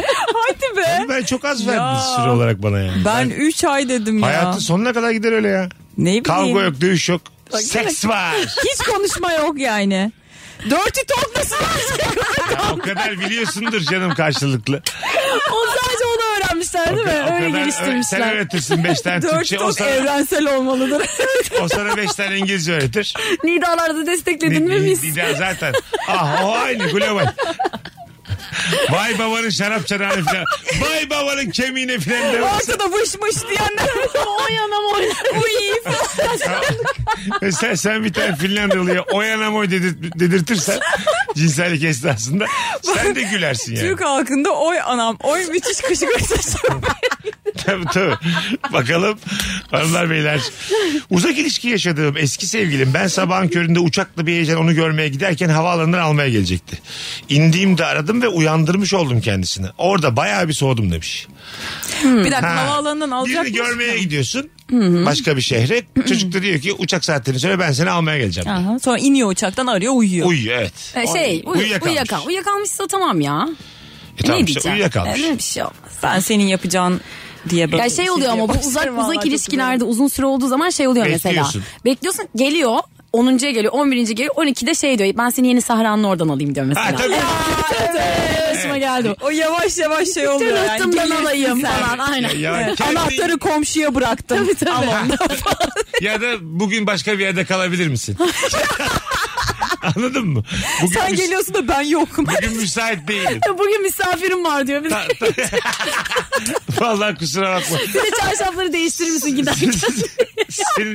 Speaker 4: Hadi be.
Speaker 3: Ben çok az verdiniz süre olarak bana yani.
Speaker 4: Ben 3 ay dedim ya.
Speaker 3: Hayatın sonuna kadar gider öyle ya.
Speaker 4: Ne bileyim.
Speaker 3: Kavga yok, dövüş yok. Seks var.
Speaker 4: Hiç konuşma yok yani. Dirty talk nasıl olacak?
Speaker 3: o kadar biliyorsundur canım karşılıklı.
Speaker 5: o sadece onu öğrenmişler değil
Speaker 3: O
Speaker 5: mi? Öyle
Speaker 3: kadar- Sen
Speaker 5: geliştirmişler.
Speaker 3: öğretirsin beş tane
Speaker 4: Dirty
Speaker 3: Türkçe. O
Speaker 4: talk
Speaker 3: sana,
Speaker 4: evrensel olmalıdır.
Speaker 3: o sana beş tane İngilizce öğretir.
Speaker 5: Nidalarda destekledin mi
Speaker 3: Di-
Speaker 5: biz?
Speaker 3: di- di- zaten. Ah o aynı global. Vay babanın şarap çanağına filan. Vay babanın kemiğine filan demezsin.
Speaker 4: Ortada vış vış diyenler.
Speaker 5: o yanam o yanam.
Speaker 4: Uy falan.
Speaker 3: E, sen, sen bir tane Finlandiyalı'ya o yana moy dedirt- dedirtirsen cinsellik esnasında sen de gülersin yani.
Speaker 4: Türk halkında oy anam oy müthiş kışı kışı.
Speaker 3: tabii tabii. Bakalım hanımlar beyler. Uzak ilişki yaşadığım eski sevgilim ben sabahın köründe uçakla bir heyecan onu görmeye giderken havaalanından almaya gelecekti. İndiğimde aradım ve uyandırmış oldum kendisini. Orada bayağı bir soğudum demiş.
Speaker 4: bir dakika
Speaker 3: Ha.
Speaker 4: havaalanından alacak
Speaker 3: Birini görmeye gidiyorsun başka bir şehre. Çocuk da diyor ki uçak saatini söyle ben seni almaya geleceğim.
Speaker 4: Aha, sonra iniyor uçaktan arıyor uyuyor.
Speaker 3: Uyuyor evet.
Speaker 5: E, şey uy-
Speaker 3: Uyuyakalmış.
Speaker 5: uyuyakalmış. uyuyakalmışsa tamam ya.
Speaker 3: E tamam
Speaker 5: ne
Speaker 3: işte,
Speaker 5: diyeceğim?
Speaker 3: uyuyakalmış.
Speaker 5: Öyle bir şey olmaz.
Speaker 4: ben senin yapacağın diye böyle.
Speaker 5: Ya şey oluyor ama bu uzak uzak ilişkilerde uzun süre olduğu zaman şey oluyor mesela.
Speaker 3: Bekliyorsun.
Speaker 5: Bekliyorsun geliyor 10.ya geliyor 11. geliyor 12'de şey diyor ben seni yeni sahranın oradan alayım diyor mesela.
Speaker 3: Ha, tabii.
Speaker 5: Başıma geldi o.
Speaker 4: O yavaş yavaş şey oluyor. yani.
Speaker 5: Tırnatımdan
Speaker 4: Gelirsin
Speaker 5: alayım
Speaker 4: sen.
Speaker 5: falan aynen.
Speaker 3: Ya, ya kendi-
Speaker 4: Anahtarı komşuya bıraktım.
Speaker 5: Tabii, tabii.
Speaker 4: Al onu.
Speaker 3: ya da bugün başka bir yerde kalabilir misin? Anladın mı? Bugün
Speaker 4: Sen
Speaker 3: müs-
Speaker 4: geliyorsun da ben yokum.
Speaker 3: Bugün müsait değilim.
Speaker 5: Bugün misafirim var diyor. Bir de-
Speaker 3: Ta- ta- Vallahi kusura bakma.
Speaker 5: bir de çarşafları değiştirir misin giderken?
Speaker 3: seni,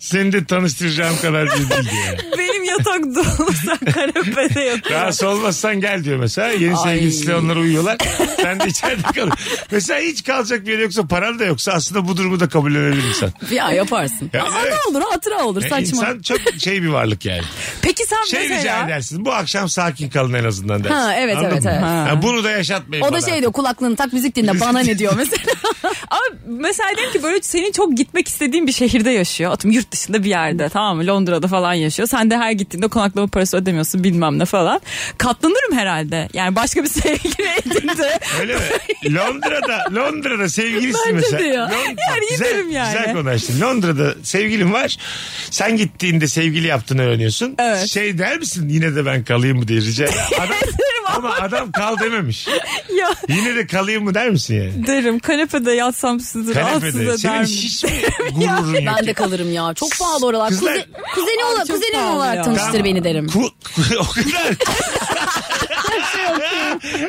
Speaker 3: seni de tanıştıracağım kadar bir bilgi. yani.
Speaker 4: Benim yatak dolu sen kanepede yatıyorsun.
Speaker 3: Rahatsız olmazsan gel diyor mesela. Yeni sevgilisiyle onlar uyuyorlar. Sen de içeride kalıyorsun. Mesela hiç kalacak bir yer yoksa paran da yoksa aslında bu durumu da kabul edebilir insan.
Speaker 5: ya yaparsın.
Speaker 3: Ya,
Speaker 5: Ama
Speaker 3: evet.
Speaker 5: ne olur hatıra olur
Speaker 3: E,
Speaker 5: saçma.
Speaker 3: İnsan çok şey bir varlık yani.
Speaker 4: Peki sen
Speaker 3: Şey rica
Speaker 4: mesela
Speaker 3: edersin. Bu akşam sakin kalın en azından dersin.
Speaker 5: Ha, evet, evet,
Speaker 3: mı?
Speaker 5: evet.
Speaker 3: Ha, bunu da yaşatmayın
Speaker 5: O
Speaker 3: bana.
Speaker 5: da şey diyor kulaklığını tak müzik dinle bana ne diyor mesela.
Speaker 4: Ama mesela diyelim ki böyle senin çok gitmek istediğin bir şehirde yaşıyor. Atım yurt dışında bir yerde tamam mı? Londra'da falan yaşıyor. Sen de her gittiğinde konaklama parası ödemiyorsun bilmem ne falan. Katlanırım herhalde. Yani başka bir sevgili edindi.
Speaker 3: Öyle mi? Londra'da Londra'da sevgilisin
Speaker 5: Bence
Speaker 3: mesela.
Speaker 5: de ya.
Speaker 4: Yani giderim yani.
Speaker 3: Güzel konuştun. Londra'da sevgilin var. Sen gittiğinde sevgili yaptığını öğreniyorsun.
Speaker 4: Evet.
Speaker 3: Şey der misin yine de ben kalayım mı diye rica. Adam,
Speaker 4: Derim
Speaker 3: Ama adam kal dememiş.
Speaker 4: ya
Speaker 3: Yine de kalayım mı der misin yani?
Speaker 4: derim kanepede yatsam sizi rahatsız
Speaker 3: Kanepede.
Speaker 4: eder
Speaker 3: Senin
Speaker 4: mi?
Speaker 3: hiç mi gururun yok?
Speaker 5: Ben de kalırım ya. Çok pahalı oralar.
Speaker 3: Kızlar-
Speaker 5: Kuze, kuzeni ola,
Speaker 4: çok
Speaker 5: kuzenim
Speaker 4: pahalı
Speaker 5: olarak
Speaker 4: ya.
Speaker 5: tanıştır
Speaker 3: Tamam.
Speaker 5: beni derim.
Speaker 3: Ku- ku- o kadar.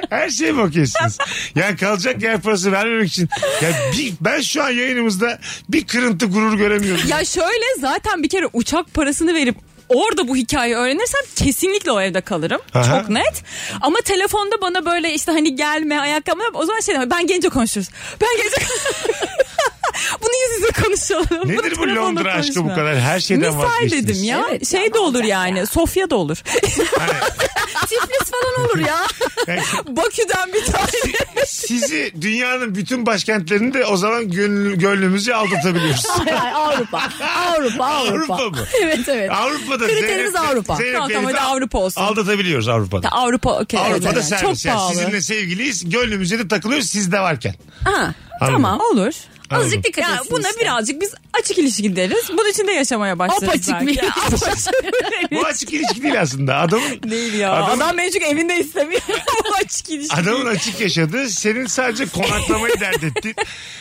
Speaker 3: Her şey mi okuyorsunuz? Yani kalacak yer parası vermemek için. Ya bir, ben şu an yayınımızda bir kırıntı gurur göremiyorum.
Speaker 4: Ya şöyle zaten bir kere uçak parasını verip orada bu hikayeyi öğrenirsem kesinlikle o evde kalırım.
Speaker 3: Aha.
Speaker 4: Çok net. Ama telefonda bana böyle işte hani gelme ayakkabı o zaman şey demiyor. Ben gelince konuşuruz. Ben gelince Bunu yüz yüze konuşalım. Bunu
Speaker 3: Nedir bu
Speaker 4: telefonda
Speaker 3: Londra aşkı bu
Speaker 4: konuşma.
Speaker 3: kadar? Her şeyden
Speaker 4: Misal
Speaker 3: vazgeçtiniz. Hani-
Speaker 4: dedim ya.
Speaker 5: Evet,
Speaker 4: şey de olur yani. Sofya da olur.
Speaker 5: Tiflis falan olur ya.
Speaker 3: Yani
Speaker 4: Bakü'den bir tane.
Speaker 3: sizi dünyanın bütün başkentlerinde o zaman gönlü, gönlümüzü aldatabiliyoruz.
Speaker 5: Hayır, hayır, Avrupa. Avrupa, Avrupa.
Speaker 3: Avrupa mı?
Speaker 5: Evet, evet.
Speaker 3: Avrupa'da
Speaker 5: Kriterimiz
Speaker 3: Zeynep-
Speaker 5: Avrupa.
Speaker 3: Zeynep
Speaker 4: Tamam, tamam,
Speaker 3: Bey'i de
Speaker 4: hadi Avrupa olsun.
Speaker 3: Aldatabiliyoruz Avrupa'da.
Speaker 4: Avrupa okey.
Speaker 3: Avrupa'da
Speaker 4: Evet, evet.
Speaker 3: servis
Speaker 4: Çok
Speaker 3: yani.
Speaker 4: pahalı.
Speaker 3: Sizinle sevgiliyiz. Gönlümüze de takılıyoruz siz de varken.
Speaker 5: Ha,
Speaker 3: Anladım.
Speaker 5: tamam.
Speaker 4: Olur.
Speaker 5: Azıcık dikkat
Speaker 4: Ya
Speaker 5: etsin
Speaker 4: buna
Speaker 5: işte.
Speaker 4: birazcık biz açık ilişki deriz. Bunun içinde yaşamaya başlarız.
Speaker 5: Apaçık
Speaker 4: belki.
Speaker 5: bir
Speaker 4: Ya,
Speaker 3: Bu açık ilişki değil aslında. Adamın
Speaker 4: Değil ya.
Speaker 3: Adamın-
Speaker 4: Adam, mevcut evinde istemiyor. Bu açık ilişki.
Speaker 3: Adamın açık yaşadığı senin sadece konaklamayı dert ettiğin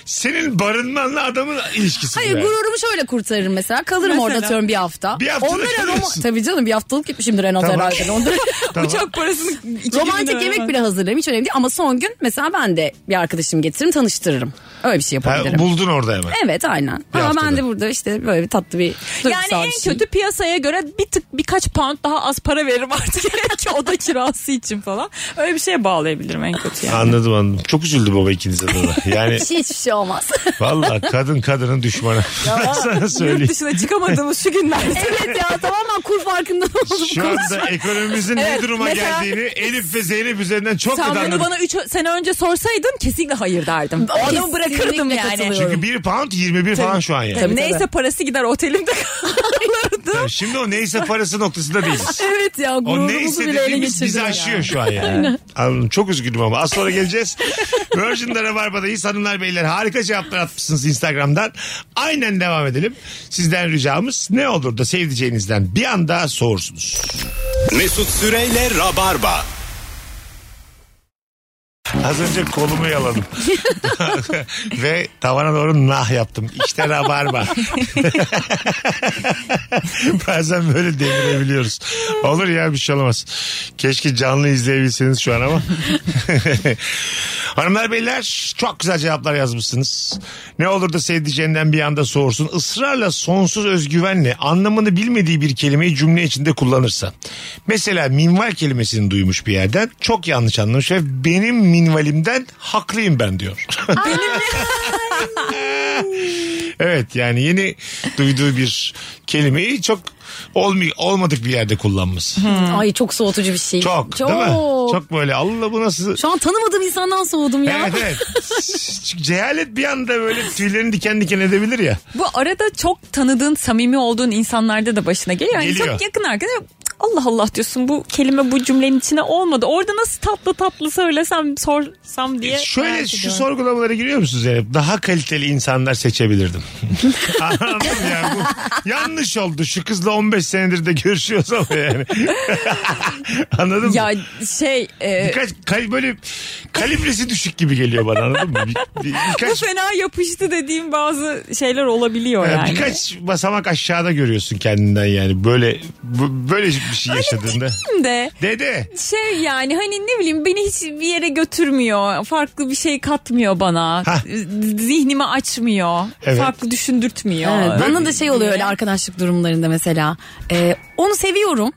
Speaker 3: senin barınmanla adamın ilişkisi. bu
Speaker 5: Hayır
Speaker 3: yani.
Speaker 5: gururumu şöyle kurtarırım mesela. Kalırım
Speaker 4: Mesela?
Speaker 5: orada atıyorum bir hafta.
Speaker 3: Bir haftada
Speaker 5: Onlara
Speaker 3: kalıyorsun.
Speaker 5: Roma... Tabii canım bir haftalık gitmişimdir en az
Speaker 3: Tamam.
Speaker 5: herhalde. Onlara...
Speaker 3: Tamam.
Speaker 4: Uçak parasını iki
Speaker 5: Romantik
Speaker 4: günde
Speaker 5: yemek
Speaker 4: hemen.
Speaker 5: bile hazırlarım hiç önemli değil. Ama son gün mesela ben de bir arkadaşım getiririm tanıştırırım. Öyle bir şey
Speaker 3: Ha,
Speaker 5: yapabilirim.
Speaker 3: buldun orada hemen.
Speaker 5: Evet aynen. Ama
Speaker 3: haftada.
Speaker 5: ben de burada işte böyle bir tatlı bir
Speaker 4: Yani
Speaker 5: duygusal
Speaker 4: en
Speaker 5: bir şey.
Speaker 4: kötü piyasaya göre bir tık birkaç pound daha az para veririm artık. ki oda kirası için falan. Öyle bir şeye bağlayabilirim en kötü yani.
Speaker 3: Anladım anladım. Çok üzüldü baba ikinize de. Yani
Speaker 5: Hiç- hiçbir şey olmaz.
Speaker 3: valla kadın kadının düşmanı. Ben sana
Speaker 4: Yurt
Speaker 3: söyleyeyim.
Speaker 4: dışına çıkamadığımız şu günlerde.
Speaker 5: evet ya tamamen kur farkında oldum.
Speaker 3: Şu anda ekonomimizin
Speaker 4: Evet,
Speaker 3: ne duruma
Speaker 4: mesela-
Speaker 3: geldiğini Elif ve Zeynep üzerinden çok
Speaker 4: Sen
Speaker 3: kadar
Speaker 4: bunu
Speaker 3: anladım.
Speaker 4: bana 3 sene önce sorsaydın kesinlikle hayır derdim. Adamı
Speaker 5: Kesinlikle
Speaker 4: bırakırdım yani.
Speaker 5: katılıyorum.
Speaker 3: Çünkü 1 pound 21 falan şu an yani.
Speaker 5: Tabii,
Speaker 4: Neyse
Speaker 5: tabii.
Speaker 4: parası gider otelimde kalırdım.
Speaker 3: Tabii, Şimdi o neyse parası noktasında değiliz.
Speaker 5: Evet ya
Speaker 3: O
Speaker 5: gururumuzu
Speaker 3: neyse
Speaker 5: bile ele
Speaker 3: dediğimiz
Speaker 5: geçirdi.
Speaker 3: bizi aşıyor şu an yani. Anladım. Çok üzgünüm ama. Az sonra geleceğiz. Virgin'de Rabarba'dayız. Hanımlar beyler harika cevaplar atmışsınız Instagram'dan. Aynen devam edelim. Sizden ricamız ne olur da sevdiceğinizden bir anda soğursunuz.
Speaker 2: Mesut Süreyle Rabarba.
Speaker 3: Az önce kolumu yaladım. Ve tavana doğru nah yaptım. İşte rabarba. Bazen böyle delirebiliyoruz. Olur ya bir şey olamaz. Keşke canlı izleyebilseniz şu an ama. Hanımlar beyler çok güzel cevaplar yazmışsınız. Ne olur da sevdiceğinden bir anda soğursun. Israrla sonsuz özgüvenle anlamını bilmediği bir kelimeyi cümle içinde kullanırsa. Mesela minval kelimesini duymuş bir yerden çok yanlış anlamış ve benim minvalimden haklıyım ben diyor. evet yani yeni duyduğu bir kelimeyi çok olmay- olmadık bir yerde kullanması.
Speaker 5: Ay çok soğutucu bir şey.
Speaker 3: Hmm. Çok, değil mi? Çok böyle Allah bu nasıl
Speaker 5: Şu an tanımadığım insandan soğudum ya.
Speaker 3: Evet evet. Çünkü cehalet bir anda böyle tüylerini diken diken edebilir ya.
Speaker 4: Bu arada çok tanıdığın, samimi olduğun insanlarda da başına geliyor. Yani
Speaker 3: Geliyor.
Speaker 4: çok yakın arkadaş. Allah Allah diyorsun bu kelime bu cümlenin içine olmadı. Orada nasıl tatlı tatlı söylesem sorsam diye.
Speaker 3: Şöyle
Speaker 4: merak
Speaker 3: şu
Speaker 4: ediyorum.
Speaker 3: sorgulamalara giriyor musunuz Zeynep? Daha kaliteli insanlar seçebilirdim. Anladım yani bu yanlış oldu. Şu kızla 15 senedir de görüşüyoruz ama yani. Anladın mı?
Speaker 4: Ya şey e,
Speaker 3: Birkaç kal- böyle kalibresi düşük gibi geliyor bana anladın mı? Bir- bir-
Speaker 4: bu
Speaker 3: birkaç
Speaker 4: fena yapıştı dediğim bazı şeyler olabiliyor
Speaker 3: yani
Speaker 4: yani.
Speaker 3: birkaç basamak aşağıda görüyorsun kendinden yani böyle bu- böyle bir şey yaşadığında.
Speaker 4: de
Speaker 3: Dede.
Speaker 4: şey yani hani ne bileyim beni hiç bir yere götürmüyor. Farklı bir şey katmıyor bana.
Speaker 3: Hah.
Speaker 4: Zihnimi açmıyor.
Speaker 3: Evet.
Speaker 4: Farklı düşündürtmüyor.
Speaker 5: Evet, bana da şey oluyor öyle arkadaşlık durumlarında mesela. Ee, onu seviyorum.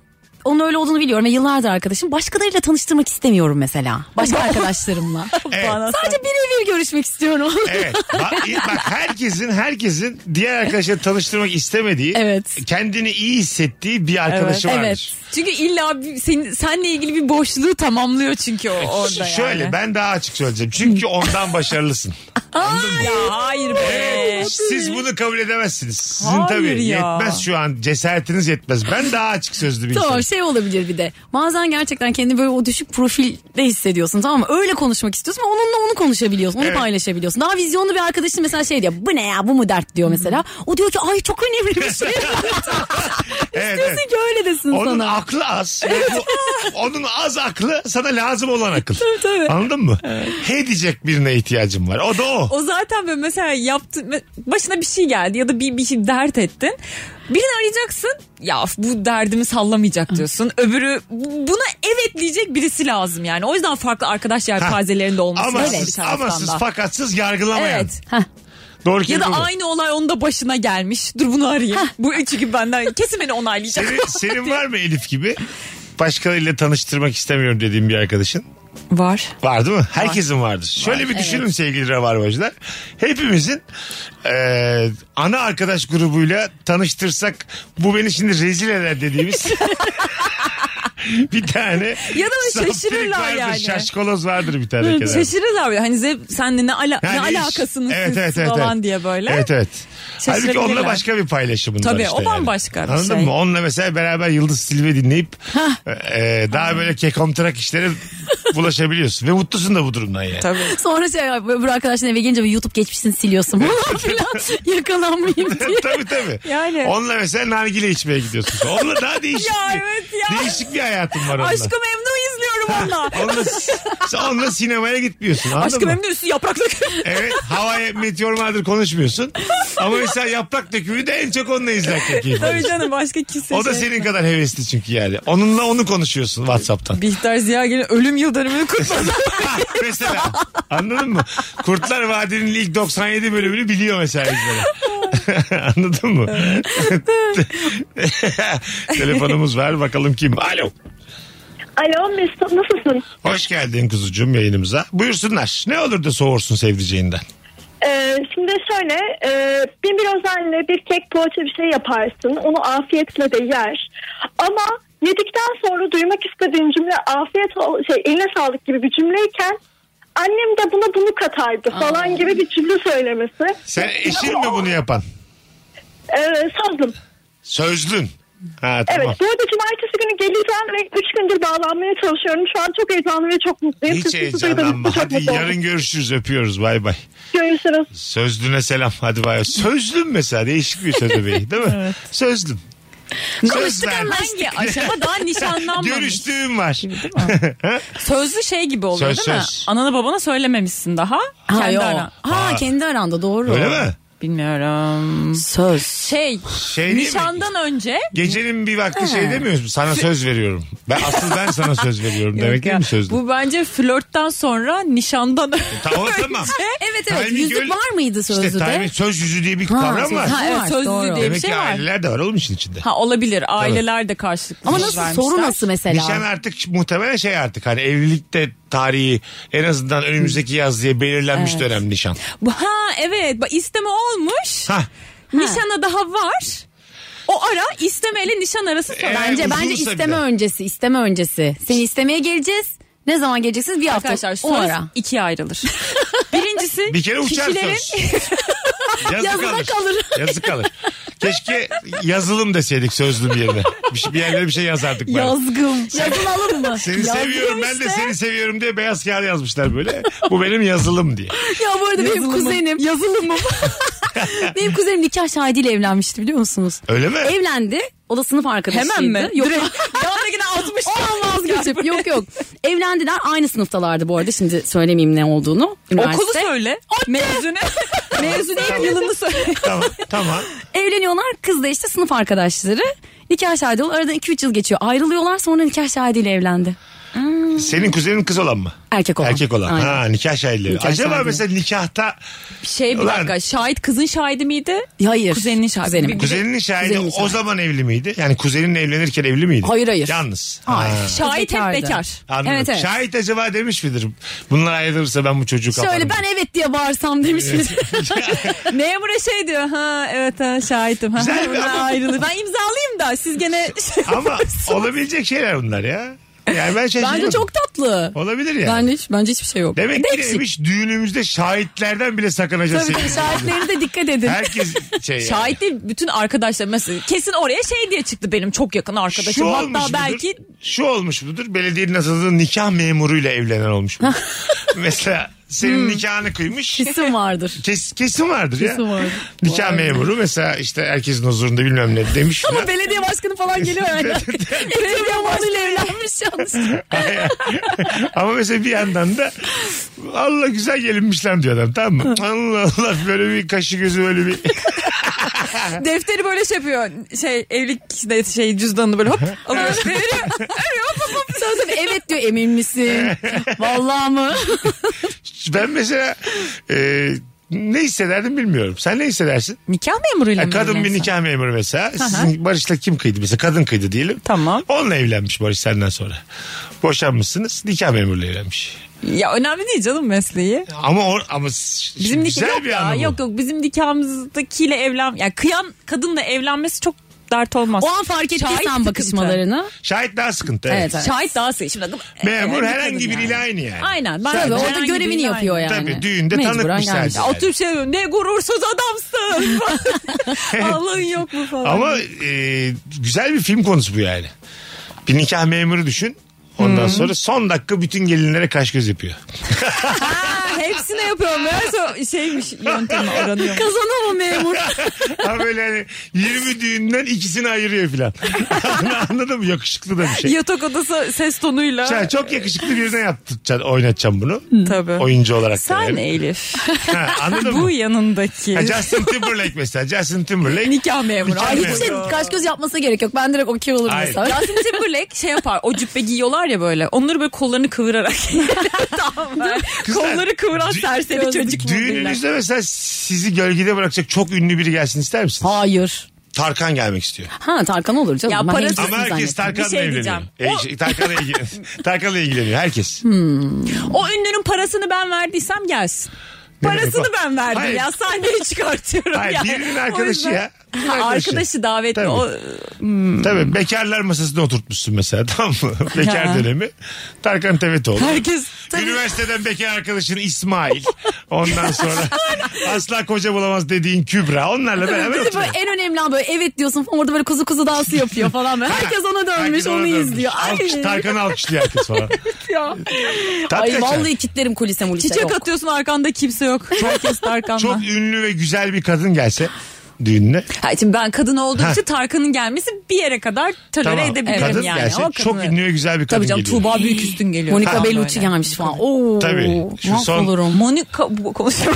Speaker 5: Onun öyle olduğunu biliyorum ve yıllardır arkadaşım. Başkalarıyla tanıştırmak istemiyorum mesela. Başka arkadaşlarımla.
Speaker 3: Evet.
Speaker 4: Bana
Speaker 5: Sadece birebir görüşmek istiyorum.
Speaker 3: Evet. Bak, bak herkesin herkesin diğer arkadaşları tanıştırmak istemediği,
Speaker 5: Evet.
Speaker 3: kendini iyi hissettiği bir arkadaşı
Speaker 5: Evet.
Speaker 3: vardır.
Speaker 4: Çünkü illa bir- senin, senle ilgili bir boşluğu tamamlıyor çünkü o, orada yani.
Speaker 3: Şöyle ben daha açık söyleyeceğim. Çünkü ondan başarılısın.
Speaker 4: Ya hayır be.
Speaker 3: Siz bunu kabul edemezsiniz. Sizin
Speaker 4: Hayır
Speaker 3: tabii
Speaker 4: ya.
Speaker 3: yetmez şu an cesaretiniz yetmez. Ben daha açık sözlü bir
Speaker 5: Tamam
Speaker 3: insanım.
Speaker 5: şey olabilir bir de. Bazen gerçekten kendini böyle o düşük profilde hissediyorsun tamam mı? Öyle konuşmak istiyorsun ama onunla onu konuşabiliyorsun. Onu
Speaker 3: Evet.
Speaker 5: paylaşabiliyorsun. Daha vizyonlu bir arkadaşın mesela şey diyor. Bu ne ya bu mu dert
Speaker 3: Hmm.
Speaker 5: diyor mesela. O diyor ki ay çok önemli bir şey.
Speaker 3: Evet, evet.
Speaker 5: Diyorsun ki öyle desin
Speaker 3: Onun
Speaker 5: sana.
Speaker 3: aklı az. ve bu- onun az aklı sana lazım olan akıl. Anladın mı? He diyecek birine ihtiyacım var. O da o.
Speaker 4: O zaten böyle mesela yaptın başına bir şey geldi ya da bir, bir şey dert ettin. Birini arayacaksın. Ya f- bu derdimi sallamayacak diyorsun. Öbürü bu- buna evet diyecek birisi lazım yani. O yüzden farklı arkadaş yelpazelerinde olması lazım bir
Speaker 3: Amasız,
Speaker 4: taraftan
Speaker 3: amasız
Speaker 4: da.
Speaker 3: fakatsız yargılamayan.
Speaker 4: Evet.
Speaker 3: Doğru
Speaker 4: Ya da
Speaker 3: kelime bu.
Speaker 4: aynı olay onun da başına gelmiş. Dur bunu arayayım. Bu üçü gibi benden kesin beni onaylayacak.
Speaker 3: Senin, senin var mı Elif gibi? Başkalarıyla tanıştırmak istemiyorum dediğim bir arkadaşın.
Speaker 4: Var.
Speaker 3: Var değil mi? Herkesin vardır. Şöyle bir düşünün sevgili Rabarbacılar. Hepimizin e, ana arkadaş grubuyla tanıştırsak bu beni şimdi rezil eder dediğimiz bir tane
Speaker 4: Ya da
Speaker 3: saftirik
Speaker 4: şaşırırlar
Speaker 3: vardır,
Speaker 4: yani.
Speaker 3: Şaşkoloz vardır bir tane kenarda.
Speaker 4: Şaşırırlar böyle. Hani Zeb senle ne, ala, ne
Speaker 3: Yani iş-
Speaker 4: alakasınız
Speaker 3: Evet,
Speaker 4: siz
Speaker 3: evet, evet,
Speaker 4: falan
Speaker 3: evet.
Speaker 4: diye böyle.
Speaker 3: Evet evet. Halbuki
Speaker 4: Şaşırabilirler.
Speaker 3: onunla başka bir paylaşımın
Speaker 4: Tabii,
Speaker 3: var işte.
Speaker 4: o bambaşka
Speaker 3: yani.
Speaker 4: bir
Speaker 3: Anladın
Speaker 4: şey.
Speaker 3: mı? Onunla mesela beraber Yıldız Silve dinleyip e, daha böyle kekomtrak işlere bulaşabiliyorsun. Ve mutlusun da bu durumdan yani.
Speaker 4: Tabii.
Speaker 5: Sonra şey öbür arkadaşın eve gelince böyle YouTube geçmişini siliyorsun falan filan. Yakalanmayayım diye.
Speaker 3: tabii tabii.
Speaker 4: Yani.
Speaker 3: Onunla mesela nargile içmeye gidiyorsun. Onunla daha değişik
Speaker 4: Ya
Speaker 3: bir,
Speaker 4: evet ya.
Speaker 3: değişik bir hayatım var onunla.
Speaker 4: Aşkı Memnu izliyorum onunla.
Speaker 3: Onunla, sen onunla sinemaya gitmiyorsun anladın
Speaker 4: Aşkı
Speaker 3: mı?
Speaker 4: Memnu üstü yaprak döküm.
Speaker 3: Evet havaya meteor vardır konuşmuyorsun. Ama mesela yaprak dökümünü de en çok onunla izlerken keyif
Speaker 4: Tabii
Speaker 3: alıyorsun.
Speaker 4: canım başka kimse
Speaker 3: O da
Speaker 4: şey-
Speaker 3: senin kadar hevesli çünkü yani. Onunla onu konuşuyorsun Whatsapp'tan.
Speaker 4: Bihter Ziyagil'in ölüm yıl dönümünü kutladı.
Speaker 3: mesela anladın mı? Kurtlar Vadisi'nin ilk 97 bölümünü biliyor mesela izlenen. anladın mı? Telefonumuz var bakalım kim? Alo.
Speaker 7: Alo Mesut nasılsın?
Speaker 3: Hoş geldin kuzucuğum yayınımıza. Buyursunlar. Ne olur da soğursun sevdiceğinden.
Speaker 7: Ee, şimdi şöyle e, bir bir özenle bir kek poğaça bir şey yaparsın. Onu afiyetle de yer. Ama yedikten sonra duymak istediğin cümle afiyet ol- şey eline sağlık gibi bir cümleyken annem de buna bunu katardı falan gibi bir cümle söylemesi.
Speaker 3: Sen eşin mi bunu yapan?
Speaker 7: Ee, sazdım.
Speaker 3: Sözlün. Ha
Speaker 7: Evet.
Speaker 3: tamam.
Speaker 7: Bu arada cumartesi günü geleceğim ve 3 gündür bağlanmaya çalışıyorum. Şu an çok heyecanlı ve çok mutluyum.
Speaker 3: Hiç
Speaker 7: Siz- sizi duyduğum için
Speaker 3: heyecanlanma.
Speaker 7: çok
Speaker 3: Hadi
Speaker 7: mutlu oldum.
Speaker 3: yarın görüşürüz. Öpüyoruz. Bay bay.
Speaker 7: Görüşürüz.
Speaker 3: Sözlüne selam. Hadi bay. bay. Sözlün mesela değişik bir söz öbeği değil mi? Sözlün. Söz
Speaker 4: Konuştuk
Speaker 3: verdim.
Speaker 4: hangi aşama daha nişanlanmamış.
Speaker 3: Görüştüğüm var.
Speaker 4: Sözlü şey gibi oluyor
Speaker 3: Söz,
Speaker 4: değil mi?
Speaker 3: söz.
Speaker 4: Anana babana söylememişsin daha.
Speaker 5: Ha,
Speaker 4: kendi
Speaker 5: yo.
Speaker 4: ara.
Speaker 5: ha kendi aranda doğru.
Speaker 3: Öyle mi?
Speaker 4: Bilmiyorum.
Speaker 5: Söz.
Speaker 4: Şey
Speaker 3: Şey değil mi?
Speaker 4: nişandan önce
Speaker 3: Gecenin bir vakti şey demiyoruz mu? Sana söz veriyorum. Ben asıl ben sana söz veriyorum demek
Speaker 4: Yok
Speaker 3: değil
Speaker 4: ya,
Speaker 3: mi sözlü? E,
Speaker 4: Bu bence flörtten sonra nişandan
Speaker 3: Tamam tamam.
Speaker 5: şey. Evet evet
Speaker 3: Timing
Speaker 5: yüzük
Speaker 3: öyle-
Speaker 5: var mıydı sözlüde?
Speaker 3: İşte timing, söz yüzü diye bir
Speaker 5: Ha,
Speaker 3: kavram
Speaker 5: söz-
Speaker 3: var.
Speaker 5: Ha, evet,
Speaker 4: Evet, sözlü
Speaker 5: doğru.
Speaker 4: diye-
Speaker 3: Demek
Speaker 4: bir şey
Speaker 3: ki
Speaker 4: var.
Speaker 3: aileler de var oğlum işin içinde.
Speaker 4: ha olabilir. Aileler de karşılıklı
Speaker 5: Ama
Speaker 4: söz
Speaker 5: nasıl
Speaker 4: vermişler.
Speaker 5: soru nasıl mesela?
Speaker 3: Nişan artık muhtemelen şey artık hani evlilikte tarihi en azından önümüzdeki yaz diye belirlenmiş dönem nişan.
Speaker 4: Bu- Ha evet Bak, isteme olmuş.
Speaker 3: Ha.
Speaker 4: Nişana daha var. O ara istemeyle nişan arası sonra.
Speaker 3: Evet.
Speaker 5: Bence
Speaker 3: Ee, Uzunsa
Speaker 5: bence
Speaker 3: bir de.
Speaker 5: isteme öncesi, isteme öncesi. Seni istemeye geleceğiz. Ne zaman geleceksiniz? Bir hafta.
Speaker 4: Arkadaşlar
Speaker 5: o
Speaker 4: söz
Speaker 5: ara.
Speaker 4: ikiye ayrılır. Birincisi
Speaker 3: Bir şey kere uçar
Speaker 4: kişilerin
Speaker 3: söz. Yazı
Speaker 5: Yazıda kalır.
Speaker 3: Yazı kalır. Keşke yazılım deseydik sözlüm yerine. Bir, şey- bir yerlere bir şey yazardık. bari.
Speaker 5: Yazgım. Yazılalım mı?
Speaker 3: Seni
Speaker 5: Yazgım
Speaker 3: seviyorum ben de
Speaker 5: işte.
Speaker 3: seni seviyorum diye beyaz kağıda yazmışlar böyle. Bu benim yazılım diye.
Speaker 5: Ya bu arada benim kuzenim. Yazılımım. benim kuzenim nikah şahidiyle evlenmişti biliyor musunuz?
Speaker 3: Öyle mi?
Speaker 5: Evlendi. O da sınıf arkadaşıydı.
Speaker 4: hemen mi?
Speaker 5: Yok.
Speaker 4: Direkt yanındakine atmış.
Speaker 5: Oradan vazgeçip yok yok. Evlendiler aynı sınıftalardı bu arada şimdi söylemeyeyim ne olduğunu. Üniversite.
Speaker 4: Okulu söyle. Mezunu. Mezuniyet yılını söyle.
Speaker 3: Tamam tamam.
Speaker 5: Evleniyorlar kız da işte sınıf arkadaşları. Nikah şahidi oluyor. Aradan 2-3 yıl geçiyor. Ayrılıyorlar sonra nikah şahidiyle evlendi.
Speaker 3: Senin kuzenin kız olan mı?
Speaker 5: Erkek olan.
Speaker 3: Erkek olan.
Speaker 5: Aynen.
Speaker 3: Ha nikah şahitleri.
Speaker 5: Nikah
Speaker 3: Acaba
Speaker 5: şahidi.
Speaker 3: mesela nikahta
Speaker 4: Şey bir
Speaker 3: Ulan.
Speaker 4: dakika şahit kızın şahidi miydi?
Speaker 5: Ya Hayır.
Speaker 4: Kuzeninin şahidi.
Speaker 5: Kuzenim.
Speaker 4: Bir-
Speaker 3: kuzeninin şahidi
Speaker 5: Kuzenin
Speaker 3: o
Speaker 5: şahidi.
Speaker 3: zaman evli miydi? Yani kuzenin evlenirken evli miydi?
Speaker 5: Hayır, hayır.
Speaker 3: Yalnız.
Speaker 5: Hayır.
Speaker 3: Ha,
Speaker 4: Şahit hep
Speaker 5: Bekardı.
Speaker 4: bekar.
Speaker 3: Anladım.
Speaker 5: Evet, evet.
Speaker 3: Şahit acaba demiş midir? Bunlar ayrılırsa ben bu çocuğu kaparım.
Speaker 5: Şöyle ben evet diye bağırsam demiş misin?
Speaker 4: Memura şey diyor. Ha evet ha şahitim. Ha,
Speaker 3: Güzel bir
Speaker 4: Memura
Speaker 3: ama-
Speaker 4: ayrılır. Ben imzalayayım da siz gene şey
Speaker 3: Ama olabilecek şeyler bunlar ya. Yani ben şey
Speaker 5: Bence çok tatlı.
Speaker 3: Olabilir yani.
Speaker 5: Bence, hiç, bence hiçbir şey yok.
Speaker 3: Demek ki
Speaker 5: Ne eksik?
Speaker 3: neymiş düğünümüzde şahitlerden bile sakınacağız.
Speaker 5: Tabii tabii şahitlere de dikkat edin.
Speaker 3: Herkes şey yani.
Speaker 4: Şahit değil bütün arkadaşlar mesela kesin oraya şey diye çıktı benim çok yakın arkadaşım.
Speaker 3: Şu olmuş
Speaker 4: Hatta
Speaker 3: mudur?
Speaker 4: belki
Speaker 3: Şu olmuş mudur? Belediyenin asadığı nikah memuruyla evlenen olmuş mudur? Mesela senin nikahını kıymış.
Speaker 5: Hmm. Kesin vardır.
Speaker 3: Kes, kesin vardır ya.
Speaker 5: Kesin vardır.
Speaker 3: Nikah memuru mesela işte herkesin huzurunda bilmem ne demiş.
Speaker 5: Ama
Speaker 3: falan.
Speaker 5: belediye başkanı falan geliyor yani. belediye başkanıyla evlenmiş yalnız.
Speaker 3: Ama mesela bir yandan da Allah güzel gelinmiş lan diyor adam tamam mı? Allah Allah böyle bir kaşı gözü böyle bir
Speaker 4: defteri böyle şey yapıyor. Şey evlilik işte şey cüzdanını böyle hop alıyor. veriyor.
Speaker 5: Sonra tabii evet diyor emin misin? Vallahi mı?
Speaker 3: ben mesela e, ne hissederdim bilmiyorum. Sen ne hissedersin?
Speaker 4: Nikah memuruyla
Speaker 3: Ya
Speaker 4: mı
Speaker 3: E, kadın bir
Speaker 4: evlensen?
Speaker 3: nikah memuru mesela. Sizin Barış'la kim kıydı mesela? Kadın kıydı diyelim.
Speaker 4: Tamam.
Speaker 3: Onunla evlenmiş Barış senden sonra. Boşanmışsınız. Nikah memuruyla evlenmiş.
Speaker 4: Ya önemli değil canım mesleği.
Speaker 3: Ama o, ama s-
Speaker 4: Bizim nikah
Speaker 3: güzel
Speaker 4: yok
Speaker 3: bir
Speaker 4: ya.
Speaker 3: anlamı.
Speaker 4: Yok yok bizim nikahımızdakiyle evlen ya kıyan kadınla evlenmesi çok dert olmaz.
Speaker 5: O an fark ettiysen
Speaker 4: sıkıntı.
Speaker 5: bakışmalarını.
Speaker 3: Şahit daha sıkıntı. Evet.
Speaker 5: Evet, evet.
Speaker 4: Şahit daha sıkı. Şimdi
Speaker 3: Memur
Speaker 4: Herhangi
Speaker 3: herhangi
Speaker 4: kadın
Speaker 3: biriyle
Speaker 4: yani.
Speaker 3: aynı yani.
Speaker 4: Aynen. Ben
Speaker 5: Tabii, orada
Speaker 4: herhangi
Speaker 5: görevini
Speaker 4: biriyle
Speaker 5: yapıyor
Speaker 4: aynı.
Speaker 5: yani.
Speaker 3: Tabii, düğünde tanıkmış
Speaker 5: geldi.
Speaker 3: sensin.
Speaker 4: Ya oturup şey diyorum, ne gurursuz adamsın. Allah'ın yok mu falan.
Speaker 3: Ama e, güzel bir film konusu bu yani. Bir nikah memuru düşün. Ondan sonra son dakika bütün gelinlere kaş göz yapıyor.
Speaker 4: Ha, hepsine yapıyorum. Meğerse şeymiş yöntemi aranıyor.
Speaker 5: Kazana mı memur?
Speaker 3: Ha böyle hani 20 düğünden ikisini ayırıyor filan. Anladın mı? Yakışıklı da bir şey.
Speaker 4: Yatak odası ses tonuyla.
Speaker 3: Sen çok yakışıklı birine yaptıracaksın, oynatacaksın bunu.
Speaker 4: Hmm. Tabii.
Speaker 3: Oyuncu olarak. da
Speaker 4: Sen
Speaker 3: yani.
Speaker 4: Elif.
Speaker 3: Ha, anladın
Speaker 4: Bu
Speaker 3: mı?
Speaker 4: yanındaki.
Speaker 3: Ha, Justin Timberlake mesela. Justin Timberlake.
Speaker 4: Nikah memuru.
Speaker 3: Nikah
Speaker 4: Ay,
Speaker 5: Hiç
Speaker 3: memuru.
Speaker 5: de şey kaş göz yapmasına gerek yok. Ben direkt okey olurum
Speaker 3: Hayır.
Speaker 5: mesela.
Speaker 4: Justin Timberlake şey yapar. O cübbe giyiyorlar ya böyle. Onları böyle kollarını kıvırarak. tamam ben.
Speaker 3: Kızlar,
Speaker 4: Kolları kıvıran
Speaker 3: dü-
Speaker 4: serseri çocuk.
Speaker 3: Düğününüzde mesela sizi gölgede bırakacak çok ünlü biri gelsin ister misiniz?
Speaker 5: Hayır.
Speaker 3: Tarkan gelmek istiyor.
Speaker 5: Ha Tarkan olur canım.
Speaker 4: Ya
Speaker 5: Ben
Speaker 4: parası-
Speaker 5: hepsini
Speaker 3: Ama herkes
Speaker 5: zannettim.
Speaker 3: Tarkan'la
Speaker 4: Bir şey
Speaker 3: evleniyor.
Speaker 4: diyeceğim.
Speaker 3: E,
Speaker 4: O- Hmm.
Speaker 3: şey, Tarkan'la ilgileniyor. Tarkan'la ilgileniyor herkes.
Speaker 4: O ünlünün parasını ben verdiysem gelsin.
Speaker 3: Ne
Speaker 4: Parasını
Speaker 3: demek o?
Speaker 4: ben verdim
Speaker 3: Hayır.
Speaker 4: ya sahneye çıkartıyorum
Speaker 3: Hayır,
Speaker 4: yani.
Speaker 3: birinin
Speaker 4: O
Speaker 3: arkadaşı
Speaker 4: yüzden-
Speaker 3: ya. Birinin
Speaker 4: Ha,
Speaker 3: arkadaşı.
Speaker 4: arkadaşı davetli.
Speaker 3: Tabii.
Speaker 4: O,
Speaker 3: Tabii bekarlar masasına oturtmuşsun mesela tamam mı? Bekar dönemi. Tarkan Tevetoğlu.
Speaker 4: herkes tabii.
Speaker 3: Üniversiteden bekar arkadaşın İsmail. Ondan sonra asla koca bulamaz dediğin Kübra. Onlarla beraber
Speaker 5: Bir de
Speaker 3: oturuyor.
Speaker 5: böyle en önemli an böyle evet diyorsun falan orada böyle kuzu kuzu dansı yapıyor falan. Böyle. Herkes ona dönmüş
Speaker 3: Herkes ona
Speaker 5: onu
Speaker 3: dönmüş.
Speaker 5: izliyor. Ay,
Speaker 3: Alkış, Tarkan'ı alkışlıyor herkes falan.
Speaker 5: ya.
Speaker 3: Tat
Speaker 5: Ay
Speaker 3: kaçar.
Speaker 5: vallahi kitlerim kulise mulise
Speaker 4: Çiçek
Speaker 5: yok.
Speaker 4: atıyorsun arkanda kimse yok. Herkes Tarkan'la.
Speaker 3: Çok ünlü ve güzel bir kadın gelse düğününe.
Speaker 4: Ha, şimdi ben kadın olduğum
Speaker 3: Ha.
Speaker 4: için Tarkan'ın gelmesi bir yere kadar tolere
Speaker 3: Tamam.
Speaker 4: edebilirim
Speaker 3: kadın
Speaker 4: yani.
Speaker 3: gelse
Speaker 4: O
Speaker 3: çok
Speaker 4: kadını-
Speaker 3: ünlü ve güzel bir kadın
Speaker 4: Tabii canım
Speaker 3: geliyor.
Speaker 4: Tuğba Büyüküstün geliyor.
Speaker 5: Monica
Speaker 4: falan
Speaker 5: Bellucci
Speaker 4: böyle.
Speaker 5: gelmiş falan. Oo,
Speaker 3: Tabii. Şu son-
Speaker 5: mahvolurum.
Speaker 4: Monica bu konuşuyor.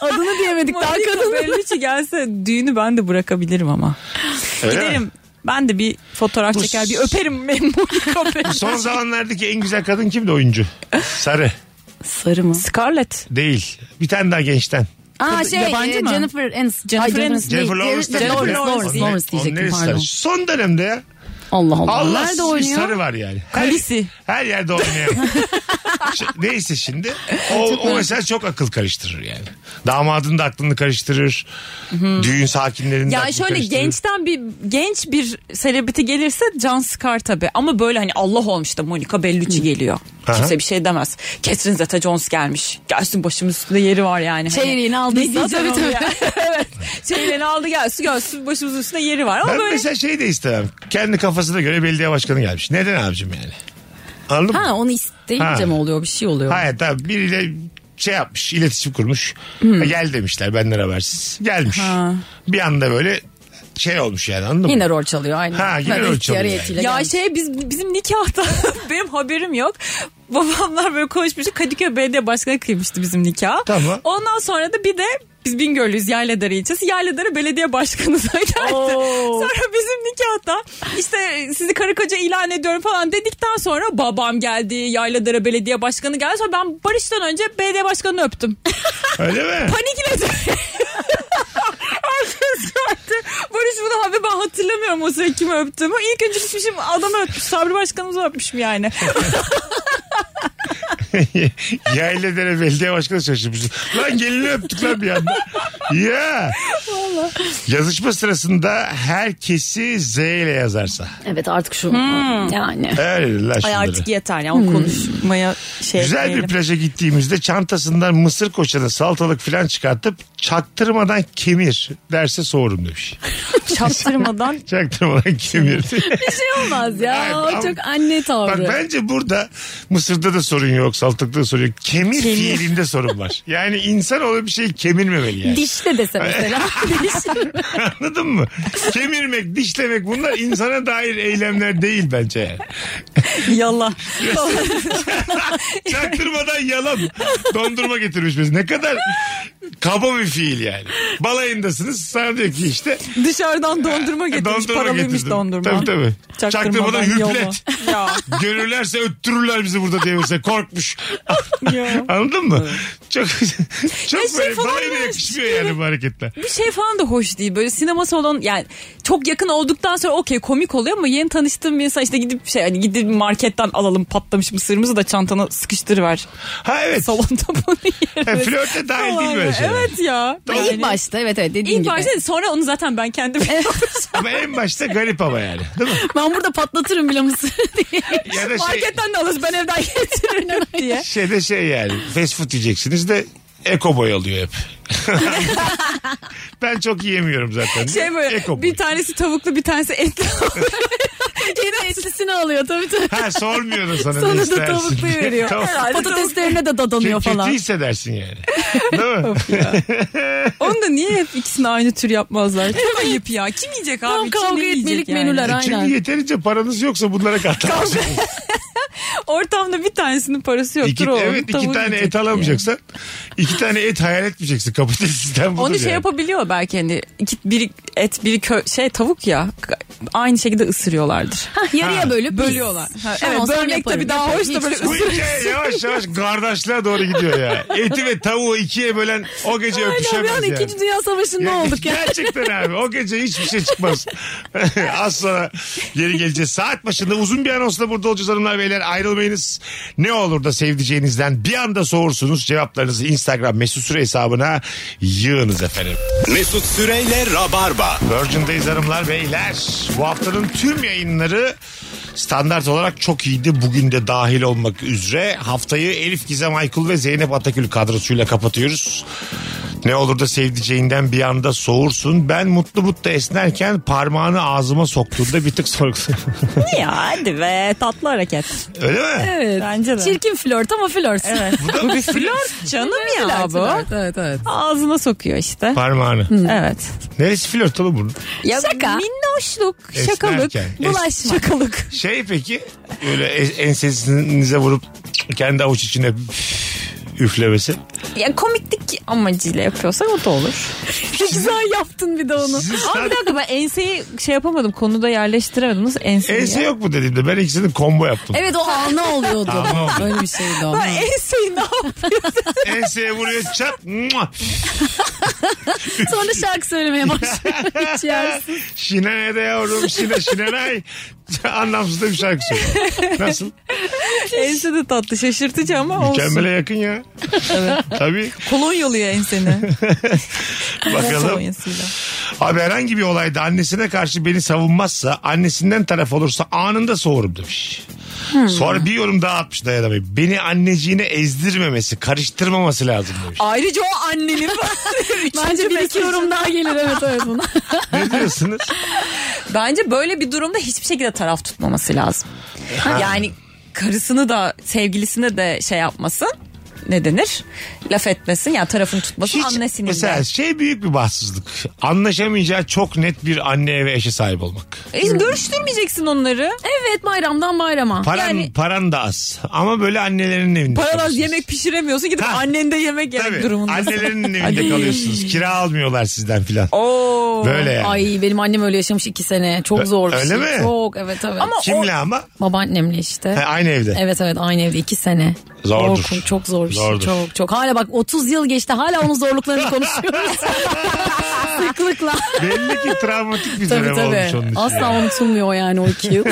Speaker 5: Adını diyemedik
Speaker 4: Monica
Speaker 5: Tarkan'ın.
Speaker 4: Bellucci gelse düğünü ben de bırakabilirim ama.
Speaker 3: Öyle mi?
Speaker 4: Giderim. Ben de bir fotoğraf
Speaker 3: Bu
Speaker 4: çeker bir
Speaker 3: s-
Speaker 4: öperim ben Monica Bellucci.
Speaker 3: Son zamanlardaki en güzel kadın kimdi oyuncu? Sarı.
Speaker 5: Sarı mı?
Speaker 4: Scarlett.
Speaker 3: Değil. Bir tane daha gençten.
Speaker 5: Aa
Speaker 4: Kız-
Speaker 5: şey
Speaker 4: yabancı
Speaker 5: e,
Speaker 4: mı?
Speaker 5: Jennifer Aniston. Jennifer,
Speaker 4: Jennifer
Speaker 5: Aniston.
Speaker 3: Jennifer
Speaker 5: değil.
Speaker 3: Lawrence da
Speaker 5: Jennifer
Speaker 3: değil mi?
Speaker 5: Lawrence,
Speaker 3: Onun-
Speaker 5: Lawrence,
Speaker 3: onun
Speaker 5: diyecektim
Speaker 3: neresi
Speaker 5: pardon.
Speaker 3: sarı? Son dönemde ya.
Speaker 5: Allah Allah.
Speaker 3: Allah
Speaker 5: Nerede
Speaker 3: bir
Speaker 5: oynuyor?
Speaker 3: sarı var yani. Her,
Speaker 4: Kalisi.
Speaker 3: her yerde oynayan. Ş- Neyse şimdi. O, o mesela çok akıl karıştırır yani. Damadın da aklını karıştırır. Düğün sakinlerinin de
Speaker 4: Ya
Speaker 3: aklını
Speaker 4: şöyle
Speaker 3: karıştırır.
Speaker 4: gençten bir genç bir selebriti gelirse Can Scar tabii. Ama böyle hani Allah olmuş da Monica Bellucci geliyor.
Speaker 3: Aha.
Speaker 4: Kimse bir şey demez. Catherine Zeta-Jones gelmiş. Gelsin başımın üstünde yeri var yani. Hani
Speaker 5: Çeyreğini aldıysa
Speaker 4: ne diyeceğim
Speaker 5: tabii,
Speaker 4: onu
Speaker 5: tabii.
Speaker 4: ya? evet. Çeyreğini aldı gelsin gelsin başımızın üstünde yeri var. Ama
Speaker 3: Ben
Speaker 4: böyle
Speaker 3: mesela şey de istemem. Kendi kafasına göre belediye başkanı gelmiş. Neden abicim yani? Anladın mı?
Speaker 5: Ha onu isteyince
Speaker 3: Ha.
Speaker 5: mi oluyor bir şey oluyor.
Speaker 3: Hayır tabii biriyle şey yapmış iletişim kurmuş. Ha, Gel demişler benden habersiz. Gelmiş. Bir anda böyle şey olmuş yani anladın
Speaker 5: Yine
Speaker 3: mı?
Speaker 5: rol çalıyor aynen.
Speaker 3: Ha, yine
Speaker 5: Böyle
Speaker 3: rol
Speaker 5: ihtiyar
Speaker 3: çalıyor
Speaker 5: heyetiyle
Speaker 4: Ya
Speaker 5: gelmiş.
Speaker 4: şey biz bizim nikahta benim haberim yok. Babamlar böyle konuşmuş. Kadıköy Belediye Başkanı kıymıştı bizim nikah.
Speaker 3: Tamam.
Speaker 4: Ondan sonra da bir de biz Bingöl'lüyüz Yayladarı ilçesi. Yayladarı belediye başkanı da geldi. Sonra bizim nikahta işte sizi karı koca ilan ediyorum falan dedikten sonra babam geldi. Yayladarı belediye başkanı geldi. Sonra ben Barış'tan önce belediye başkanını öptüm.
Speaker 3: Öyle mi?
Speaker 4: Panikledim. Herkes gördü. Barış bunu abi ben hatırlamıyorum o sırada kimi öptüğümü. İlk önce gitmişim adamı öpmüş. Sabri Başkanımızı öpmüşüm yani.
Speaker 3: Yayla dere belediye başkanı şaşırmışsın. Lan gelini öptük lan bir anda. Ya.
Speaker 5: Valla.
Speaker 3: Yazışma sırasında herkesi Z ile yazarsa.
Speaker 5: Evet artık şu yani.
Speaker 3: Öyle dediler
Speaker 4: Ay
Speaker 3: şunları.
Speaker 4: artık yeter ya o konuşmaya şey
Speaker 3: Güzel bir
Speaker 4: etmeyelim.
Speaker 3: plaja gittiğimizde çantasından mısır koçanı salatalık filan çıkartıp çaktırmadan kemir derse soğurum demiş.
Speaker 4: Çaktırmadan
Speaker 3: Çaktırmadan kemir.
Speaker 5: Bir şey olmaz ya.
Speaker 3: Ay,
Speaker 5: O
Speaker 3: am-
Speaker 5: çok anne
Speaker 3: Bak
Speaker 5: tavrı.
Speaker 3: bence burada mısırda da sorun yok salatalıkta da sorun yok. Kemir,
Speaker 4: Kemir.
Speaker 3: fiilinde sorun var. Yani insan olan bir şeyi kemirmemeli yani.
Speaker 5: Diş de dese mesela. Diş.
Speaker 3: Anladın mı? Kemirmek, dişlemek bunlar insana dair eylemler değil bence yani.
Speaker 4: yala.
Speaker 3: Çaktırmadan yalan. Dondurma getirmiş biz. Ne kadar kaba bir fiil yani. Balayındasınız. Sana diyor ki işte
Speaker 4: Dışarıdan dondurma getirmiş
Speaker 3: dondurma
Speaker 4: paralıymış
Speaker 3: getirdim.
Speaker 4: dondurma.
Speaker 3: Tabii tabii.
Speaker 4: Çaktırmadan,
Speaker 3: Çaktırmadan
Speaker 4: yolla.
Speaker 3: hüplet.
Speaker 4: Ya,
Speaker 3: Görürlerse öttürürler bizi burada diye mesela korkmuş.
Speaker 4: ya.
Speaker 3: Anladın mı? Çok çok
Speaker 4: Ya şey
Speaker 3: böyle
Speaker 4: falan
Speaker 3: balayına
Speaker 4: var.
Speaker 3: yakışmıyor yani bu hareketler.
Speaker 4: bir şey falan da hoş değil. Böyle sinema salonu yani çok yakın olduktan sonra okey komik oluyor ama yeni tanıştığım bir insan işte gidip şey hani gidip marketten alalım patlamış mısırımızı da çantana sıkıştırıver.
Speaker 3: Ha evet.
Speaker 4: Salonda bunu
Speaker 3: Ha,
Speaker 4: yeriz.
Speaker 3: E, flörte dahil
Speaker 4: Falan
Speaker 3: değil böyle
Speaker 4: ya.
Speaker 3: şeyler.
Speaker 4: Evet ya.
Speaker 5: Ama ilk başta evet evet dediğin
Speaker 4: İlk
Speaker 5: gibi.
Speaker 4: başta sonra onu zaten ben kendim
Speaker 3: Ama en başta garip ama yani. Değil mi?
Speaker 5: Ben burada patlatırım bile mısır diye.
Speaker 3: Ya da şey,
Speaker 4: marketten de alırız ben evden getiririm diye.
Speaker 3: şey de şey yani. Fast food yiyeceksiniz de Eko boy alıyor hep. ben çok yiyemiyorum zaten.
Speaker 4: Şey böyle
Speaker 3: Eko boy.
Speaker 4: bir tanesi tavuklu bir tanesi etli.
Speaker 5: Yine etlisini alıyor tabii tabii.
Speaker 3: Ha sormuyor da sana ne
Speaker 5: Sonra da
Speaker 3: istersin.
Speaker 5: tavuklu veriyor.
Speaker 3: Tamam.
Speaker 5: Patateslerine de dadanıyor
Speaker 3: Kö-
Speaker 5: falan.
Speaker 3: Kötü hissedersin yani. Değil mi?
Speaker 4: Onu da niye hep ikisini aynı tür yapmazlar? Çok ayıp ya. Kim yiyecek abi?
Speaker 5: Tam
Speaker 4: Kim
Speaker 5: kavga
Speaker 4: ne yiyecek
Speaker 5: etmelik
Speaker 4: yani?
Speaker 5: menüler
Speaker 3: E, Çünkü
Speaker 5: aynen.
Speaker 3: yeterince paranız yoksa bunlara katlanırsınız.
Speaker 4: Ortamda bir tanesinin parası yoktur
Speaker 3: İki,
Speaker 4: o.
Speaker 3: evet iki
Speaker 4: Tavuğu
Speaker 3: tane
Speaker 4: yiyecek
Speaker 3: et
Speaker 4: diye.
Speaker 3: alamayacaksan iki tane et hayal etmeyeceksin. Kapitalist sistem budur
Speaker 4: Onu şey
Speaker 3: yani.
Speaker 4: yapabiliyor belki hani iki, biri et biri kö şey tavuk ya aynı şekilde ısırıyorlardır.
Speaker 5: Hah, yarıya bölüp
Speaker 4: Bölüyorlar. Ha,
Speaker 5: Tamam,
Speaker 4: evet
Speaker 5: sen
Speaker 4: bölmek
Speaker 5: yaparım.
Speaker 4: tabii daha hoş da
Speaker 5: Hiç-
Speaker 4: böyle
Speaker 3: Bu hikaye yavaş yavaş kardeşliğe doğru gidiyor ya. Eti ve tavuğu ikiye bölen o gece
Speaker 5: Aynen bir
Speaker 3: öpüşemez
Speaker 5: an
Speaker 3: yani.
Speaker 5: İkinci Dünya Savaşı'nda
Speaker 3: Ya,
Speaker 5: olduk ya.
Speaker 3: Gerçekten abi o gece hiçbir şey çıkmaz. Az sonra geri geleceğiz. Saat başında uzun bir anonsla burada olacağız hanımlar beyler. Ayrılmayınız. Ne olur da sevdiceğinizden bir anda soğursunuz. Cevaplarınızı Instagram mesut süre hesabına yığınız efendim.
Speaker 2: Mesut Süreyle Rabarba.
Speaker 3: Virgin'dayız hanımlar beyler. Bu haftanın tüm yayınları standart olarak çok iyiydi. Bugün de dahil olmak üzere. Haftayı Elif Gizem Aykul ve Zeynep Atakül kadrosuyla kapatıyoruz. Ne olur da sevdiceğinden bir anda soğursun. Ben mutlu mutlu esnerken parmağını ağzıma soktuğunda bir tık sorguluyorum.
Speaker 4: Ya hadi be tatlı hareket.
Speaker 3: Öyle mi?
Speaker 5: Evet.
Speaker 4: Bence de.
Speaker 5: Çirkin flört ama flört. Evet.
Speaker 4: Bu bir flört canım ya
Speaker 5: Flört,
Speaker 4: bu.
Speaker 5: flört, Evet evet.
Speaker 4: Ağzına sokuyor işte.
Speaker 3: Parmağını.
Speaker 4: Evet.
Speaker 3: Neresi flört oğlum bunun?
Speaker 4: Ya
Speaker 5: Şaka.
Speaker 4: Minnoşluk,
Speaker 3: Esnerken.
Speaker 4: şakalık,
Speaker 3: Es-
Speaker 4: bulaşma. Şakalık.
Speaker 3: Şey peki öyle e- ensesinize vurup kendi avuç içine üflemesi.
Speaker 4: Ya komiklik amacıyla yapıyorsa o da olur.
Speaker 5: Güzel yaptın bir de onu.
Speaker 3: Sizin
Speaker 4: Ama bir dakika ben enseyi şey yapamadım. Konuda yerleştiremedim. Nasıl enseyi?
Speaker 3: Ense
Speaker 4: ya?
Speaker 3: yok mu dediğimde ben ikisini combo yaptım.
Speaker 5: Evet o alna oluyordu.
Speaker 3: Alna oluyordu.
Speaker 5: Öyle bir şeydi o.
Speaker 4: Ben enseyi ne yapayım?
Speaker 3: Enseye vuruyor çat. mua.
Speaker 5: Sonra şarkı söylemeye başlıyor. Hiç yersin.
Speaker 3: Şinene de yavrum şine şinenay. Anlamsız da bir şarkı söylüyor. Nasıl?
Speaker 4: Ense de tatlı şaşırtıcı ama olsun.
Speaker 3: Mükemmele yakın ya. Tabii.
Speaker 4: Kolonyalıyor enseni.
Speaker 3: Bakalım.
Speaker 4: Kolonyasıyla.
Speaker 3: Abi herhangi bir olayda annesine karşı beni savunmazsa annesinden taraf olursa anında soğurum demiş.
Speaker 4: Hmm.
Speaker 3: Sonra bir yorum daha atmış dayanamayıp. Beni anneciğine ezdirmemesi, karıştırmaması lazım demiş.
Speaker 4: Ayrıca o annenin.
Speaker 5: Bence bir iki yorum daha gelir evet evet buna.
Speaker 3: Ne diyorsunuz?
Speaker 4: Bence böyle bir durumda hiçbir şekilde taraf tutmaması lazım. Yani karısını da sevgilisini de şey yapmasın. Ne denir? Laf etmesin yani tarafını tutmasın annesinin
Speaker 3: mesela
Speaker 4: de.
Speaker 3: şey büyük bir bahtsızlık. Anlaşamayacağı çok net bir anne ve eşe sahip olmak.
Speaker 4: E, görüştürmeyeceksin onları.
Speaker 5: Evet bayramdan bayrama.
Speaker 3: Paran,
Speaker 4: Yani-
Speaker 3: paran da az. Ama böyle annelerin evinde.
Speaker 4: Paralar
Speaker 3: kalıyorsunuz.
Speaker 4: yemek pişiremiyorsun gidip
Speaker 3: Ha.
Speaker 4: annende yemek yemek
Speaker 3: Tabii.
Speaker 4: durumundasın.
Speaker 3: Annelerinin evinde kalıyorsunuz. Kira almıyorlar sizden filan.
Speaker 4: Oo.
Speaker 3: Böyle yani.
Speaker 5: Ay benim annem öyle yaşamış iki sene. Çok zor bir
Speaker 3: Öyle
Speaker 5: şey.
Speaker 3: mi?
Speaker 5: Çok evet evet.
Speaker 4: Ama
Speaker 3: Kimle ama?
Speaker 5: Babaannemle işte.
Speaker 3: Ha, aynı evde.
Speaker 5: Evet evet aynı evde iki sene.
Speaker 3: Zordur.
Speaker 5: Korkunç, çok zor bir
Speaker 3: Zordur.
Speaker 5: şey. Çok çok. Hala bak 30 yıl geçti hala onun zorluklarını konuşuyoruz. Sıklıkla.
Speaker 3: Belli ki travmatik bir
Speaker 5: tabii
Speaker 3: dönem olmuş onun
Speaker 5: tabii.
Speaker 3: için.
Speaker 5: Asla unutulmuyor yani o iki yıl.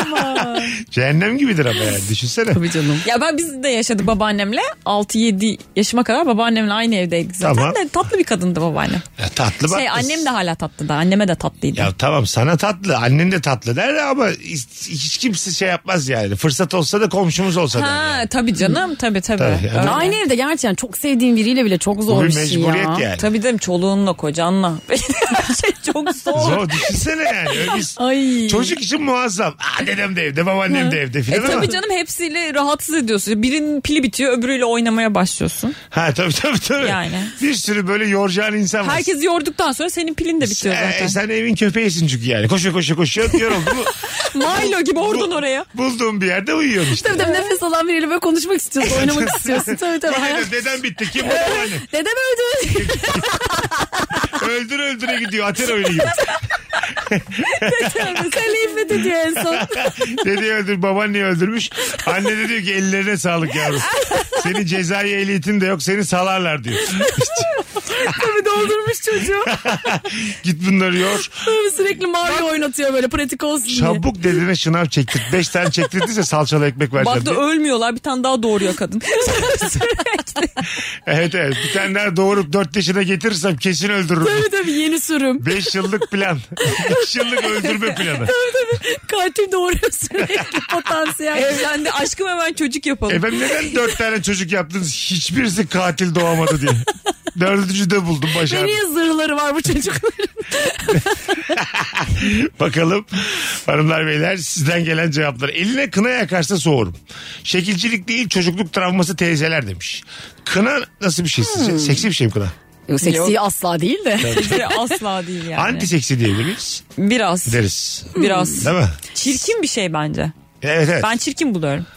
Speaker 5: Ama.
Speaker 3: Cehennem gibidir ama yani düşünsene.
Speaker 5: Tabii canım.
Speaker 4: Ya ben biz de yaşadık babaannemle. 6-7 yaşıma kadar babaannemle aynı evdeydik zaten
Speaker 3: Tamam.
Speaker 4: de tatlı bir kadındı babaannem.
Speaker 3: Ya tatlı bak.
Speaker 4: Şey
Speaker 3: kız.
Speaker 4: annem de hala tatlı da anneme de tatlıydı.
Speaker 3: Ya tamam sana tatlı annen de tatlı der ama hiç, hiç kimse şey yapmaz yani. Fırsat olsa da komşumuz olsa da.
Speaker 4: ha tabii canım tabii tabii.
Speaker 3: Tabii, yani-
Speaker 4: Öyle.
Speaker 5: Aynı evde gerçekten çok sevdiğin biriyle bile çok
Speaker 3: Bu
Speaker 5: zor
Speaker 3: bir
Speaker 5: bir şey
Speaker 3: mecburiyet
Speaker 5: ya.
Speaker 3: yani.
Speaker 4: Tabii dedim çoluğunla kocanla. Her şey çok zor.
Speaker 3: Zor düşünsene yani. Öyle bir-
Speaker 5: Ay.
Speaker 3: Çocuk için muazzam. Aa, dedem de evde babaannem de
Speaker 5: şey
Speaker 3: evde
Speaker 4: E
Speaker 3: filan ama.
Speaker 4: tabii canım hepsiyle rahatsız ediyorsun. Birinin pili bitiyor öbürüyle oynamaya başlıyorsun.
Speaker 3: Ha tabii tabii tabii.
Speaker 4: Yani.
Speaker 3: Bir sürü böyle yoracağın insan var.
Speaker 4: Herkes yorduktan sonra senin pilin de bitiyor
Speaker 5: Şey,
Speaker 3: Ee,
Speaker 4: zaten.
Speaker 3: sen evin köpeğisin çünkü yani. Koşuyor koşuyor koşuyor. Yoruldu.
Speaker 4: Milo gibi ordun oraya. Ee?
Speaker 3: Bulduğum bir yerde uyuyorsun işte.
Speaker 5: Tabii tabii nefes alan biriyle böyle konuşmak istiyorsun, oynamak istiyorsun. Tabii tabii.
Speaker 3: Vay be,
Speaker 5: hayat-
Speaker 3: Dedem bitti. Kim bu babaannem?
Speaker 5: Dedem öldü.
Speaker 3: Öldür öldüre gidiyor. Ater oyunu gibi.
Speaker 5: Kaleyim ve dedi en son.
Speaker 3: Dedeyi öldür, babaanneyi öldürmüş. Anne de diyor ki ellerine sağlık yavrum. Senin cezai ehliyetin de yok seni salarlar diyor.
Speaker 5: Tabii doldurmuş çocuğu.
Speaker 3: Git bunları yor.
Speaker 5: Tabii sürekli Mario oynatıyor böyle pratik olsun diye.
Speaker 3: Çabuk dedene şınav çektir. Beş tane çektirdiyse salçalı ekmek vereceğim.
Speaker 4: Bak da
Speaker 3: diye.
Speaker 4: ölmüyorlar bir tane daha doğuruyor kadın.
Speaker 3: Evet evet bir tane daha doğurup dört yaşına getirirsem kesin öldürürüm.
Speaker 5: Tabii tabii yeni sürüm.
Speaker 3: Beş yıllık plan. Beş yıllık öldürme planı.
Speaker 5: Katil doğuruyor sürekli potansiyel.
Speaker 4: Evlendi aşkım hemen çocuk yapalım.
Speaker 3: Efendim neden dört tane çocuk yaptınız? Hiçbirisi katil doğamadı diye. Dördüncü de buldum
Speaker 5: Ve
Speaker 3: başardım.
Speaker 5: niye zırhları var bu çocukların?
Speaker 3: Bakalım hanımlar beyler sizden gelen cevaplar. Eline kına yakarsa soğurum. Şekilcilik değil çocukluk travması teyzeler demiş. Kına nasıl bir şey sizce?
Speaker 4: Hmm.
Speaker 3: Seksi bir şey mi kına?
Speaker 5: Yok seksi asla değil de.
Speaker 4: Asla değil yani.
Speaker 3: Anti seksi diyebilir miyiz?
Speaker 4: Biraz.
Speaker 3: Deriz.
Speaker 4: Biraz.
Speaker 3: Değil mi?
Speaker 4: Çirkin bir şey bence.
Speaker 3: Evet evet.
Speaker 4: Ben çirkin buluyorum.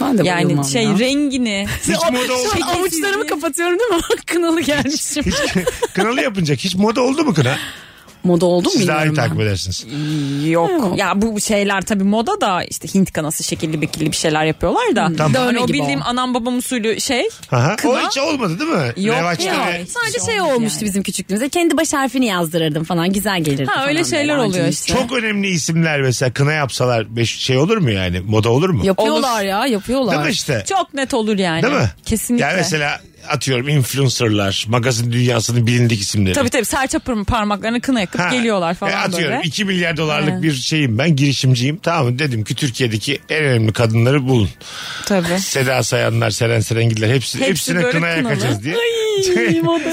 Speaker 5: Ben de
Speaker 4: Yani şey rengini.
Speaker 3: Hiç moda oldu.
Speaker 5: Şu an avuçlarımı kapatıyorum değil mi? Kınalı gelmişim.
Speaker 3: Hiç kınalı yapınacak. Hiç moda oldu mu kına?
Speaker 5: Moda oldu mu
Speaker 3: Siz daha iyi
Speaker 5: bilmiyorum
Speaker 3: takip
Speaker 5: ben.
Speaker 3: edersiniz.
Speaker 4: Yok. Ya bu şeyler tabii moda da işte Hint kanası şekilli bekilli bir şeyler yapıyorlar da.
Speaker 3: Tamam.
Speaker 5: Hmm.
Speaker 4: Hani
Speaker 5: Dövme
Speaker 4: o
Speaker 5: gibi
Speaker 4: bildiğim
Speaker 5: o.
Speaker 4: anam babam usulü şey.
Speaker 3: Aha. O hiç olmadı değil mi?
Speaker 4: Yok,
Speaker 3: Revaçta
Speaker 4: yok.
Speaker 3: ve-
Speaker 5: Sadece şey olmuştu bizim küçüklüğümüzde. Kendi baş harfini yazdırırdım falan. Güzel gelirdi
Speaker 4: Ha,
Speaker 5: falan
Speaker 4: öyle
Speaker 5: böyle
Speaker 4: şeyler oluyor
Speaker 5: ağacın
Speaker 4: işte.
Speaker 5: üstüne.
Speaker 3: Çok önemli isimler mesela kına yapsalar beş- şey olur mu yani? Moda olur mu?
Speaker 5: Yapıyorlar ya yapıyorlar.
Speaker 3: Değil mi işte?
Speaker 4: Çok net olur yani.
Speaker 3: Değil mi?
Speaker 4: Kesinlikle.
Speaker 3: Yani mesela atıyorum influencerlar, magazin dünyasının bilindik isimleri.
Speaker 4: Tabii tabii serçe pırm- parmaklarını kına yakıp
Speaker 3: Ha,
Speaker 4: geliyorlar
Speaker 3: e,
Speaker 4: falan
Speaker 3: atıyorum
Speaker 4: böyle.
Speaker 3: 2 milyar dolarlık bir şeyim ben girişimciyim. Tamam mı? dedim ki Türkiye'deki en önemli kadınları bulun.
Speaker 4: Tabii.
Speaker 3: Seda Sayanlar, Seren Serengiller hepsi,
Speaker 4: Hepsi
Speaker 3: hepsine
Speaker 4: böyle
Speaker 3: kına
Speaker 4: kınalı.
Speaker 3: yakacağız diye.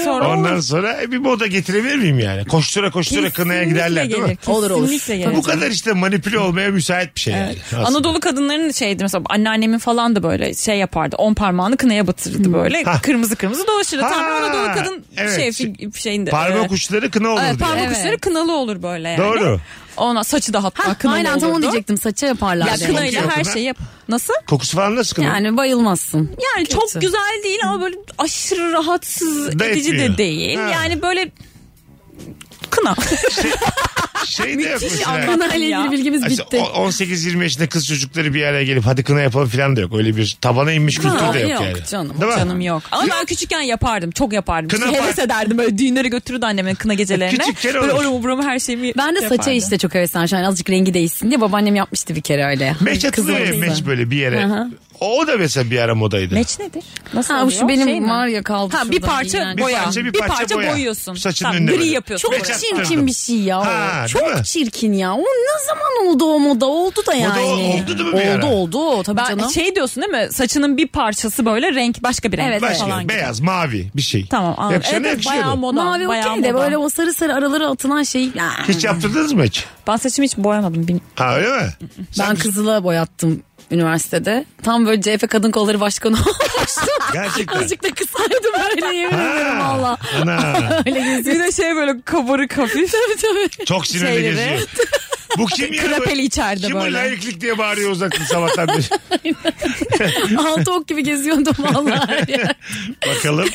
Speaker 4: Sonra
Speaker 3: Ondan sonra e, bir moda getirebilir miyim yani? Koştura koştura kınaya giderler değil mi?
Speaker 5: Olur, olur.
Speaker 4: Kesinlikle gelir.
Speaker 3: Bu kadar işte manipüle olmaya müsait bir şey yani. aslında.
Speaker 4: Anadolu kadınlarının şeydi mesela anneannemin falan da böyle şey yapardı. On parmağını kınaya
Speaker 5: Hmm.
Speaker 4: batırırdı böyle. Kırmızı kırmızı dolaşırdı.
Speaker 3: Ha,
Speaker 4: Tam Anadolu kadın
Speaker 3: evet.
Speaker 4: şey fi- şeyinde.
Speaker 3: Parmak
Speaker 4: e,
Speaker 3: uçları kına olur
Speaker 4: evet,
Speaker 3: diye.
Speaker 4: parmak
Speaker 5: Evet.
Speaker 4: uçları kınalı olur böyle yani.
Speaker 3: Doğru.
Speaker 4: Ona saçı da hatta
Speaker 5: Ha,
Speaker 4: kınalı
Speaker 5: aynen tam onu
Speaker 4: olurdu.
Speaker 5: diyecektim. Saça yaparlar.
Speaker 4: Ya
Speaker 5: dedi.
Speaker 4: kınayla
Speaker 3: Kokuyor
Speaker 4: her
Speaker 3: kına.
Speaker 4: şeyi yap. Nasıl?
Speaker 3: Kokusu falan nasıl kına?
Speaker 5: Yani bayılmazsın.
Speaker 4: Yani çok güzel değil ama böyle aşırı rahatsız
Speaker 3: Da
Speaker 4: edici
Speaker 3: etmiyor.
Speaker 4: de değil.
Speaker 3: Ha.
Speaker 4: Yani böyle kına.
Speaker 3: şey de yok mesela.
Speaker 5: Kınayla ilgili
Speaker 4: Ya.
Speaker 5: bilgimiz
Speaker 3: Mesela
Speaker 5: bitti.
Speaker 3: o- 18-20 yaşında kız çocukları bir araya gelip hadi kına yapalım falan da yok. Öyle bir tabana inmiş kültür de yok,
Speaker 5: yok
Speaker 3: yani.
Speaker 5: canım,
Speaker 3: Değil mi?
Speaker 4: Canım yok. Ama ben küçükken yapardım. Çok yapardım.
Speaker 3: Kına
Speaker 4: İşte heves
Speaker 3: par-
Speaker 4: ederdim. Böyle düğünlere götürürdü annemin kına gecelerine.
Speaker 3: Küçükken
Speaker 4: Böyle
Speaker 3: olur.
Speaker 4: oramı buramı her şeyimi
Speaker 5: Ben de saça
Speaker 4: yapardım.
Speaker 5: işte çok hevesliyim. Şu an azıcık rengi değişsin diye babaannem yapmıştı bir kere öyle.
Speaker 3: Meç atılıyor ya,
Speaker 5: Kızılırızı.
Speaker 3: meç böyle bir yere. O da mesela bir ara modaydı.
Speaker 4: Meç nedir? Nasıl
Speaker 5: Ha bu şu
Speaker 4: oluyor?
Speaker 5: benim
Speaker 4: Şey mi?
Speaker 5: var ya kaldı
Speaker 4: Ha, bir
Speaker 5: şurada,
Speaker 4: parça
Speaker 5: iğrenç.
Speaker 3: bir
Speaker 4: boya.
Speaker 3: parça bir
Speaker 4: Bir
Speaker 3: parça,
Speaker 4: parça
Speaker 3: boya.
Speaker 4: boyuyorsun.
Speaker 3: Saçın
Speaker 4: Tamam,
Speaker 3: önüne
Speaker 4: gri
Speaker 3: böyle.
Speaker 4: yapıyorsun.
Speaker 5: Çok
Speaker 3: Meç attırdım.
Speaker 5: çirkin bir şey ya. o.
Speaker 3: Ha, değil
Speaker 5: çok
Speaker 3: mi?
Speaker 5: çirkin ya. O ne zaman oldu o moda? Oldu da yani.
Speaker 3: oldu değil mi bir ara?
Speaker 5: Oldu oldu. Tabii
Speaker 4: Ben
Speaker 5: canım.
Speaker 4: şey diyorsun değil mi? Saçının bir parçası böyle renk başka bir renk
Speaker 5: Evet,
Speaker 3: Başka,
Speaker 4: falan gibi.
Speaker 3: beyaz, mavi bir şey.
Speaker 4: Tamam anladım.
Speaker 3: Yakışana
Speaker 4: evet, evet,
Speaker 3: yakışıyordu.
Speaker 4: bayağı moda.
Speaker 5: Mavi
Speaker 4: bayağı
Speaker 5: okey de
Speaker 4: moda.
Speaker 5: böyle o sarı sarı aralara atılan şey. Ah.
Speaker 3: Hiç yaptırdınız mı hiç?
Speaker 4: Ben saçımı hiç boyamadım. Bin...
Speaker 3: Ha öyle mi?
Speaker 5: Ben kızıla boyattım üniversitede. Tam böyle CHP Kadın Kolları Başkanı olmuştum.
Speaker 3: Gerçekten.
Speaker 5: Azıcık da kısaydım öyle yemin ederim
Speaker 3: Ha,
Speaker 5: valla.
Speaker 3: Ana.
Speaker 5: Öyle geziyor.
Speaker 4: Bir de şey böyle kabarık hafif.
Speaker 5: tabii tabii.
Speaker 3: Çok sinirli
Speaker 4: Şeyleri.
Speaker 3: geziyor. Bu kim ya?
Speaker 4: Krapeli içeride
Speaker 3: kim bu
Speaker 4: böyle.
Speaker 3: layıklık diye bağırıyor uzaktan sabahtan beri.
Speaker 5: Altı ok gibi geziyordum valla.
Speaker 3: Bakalım.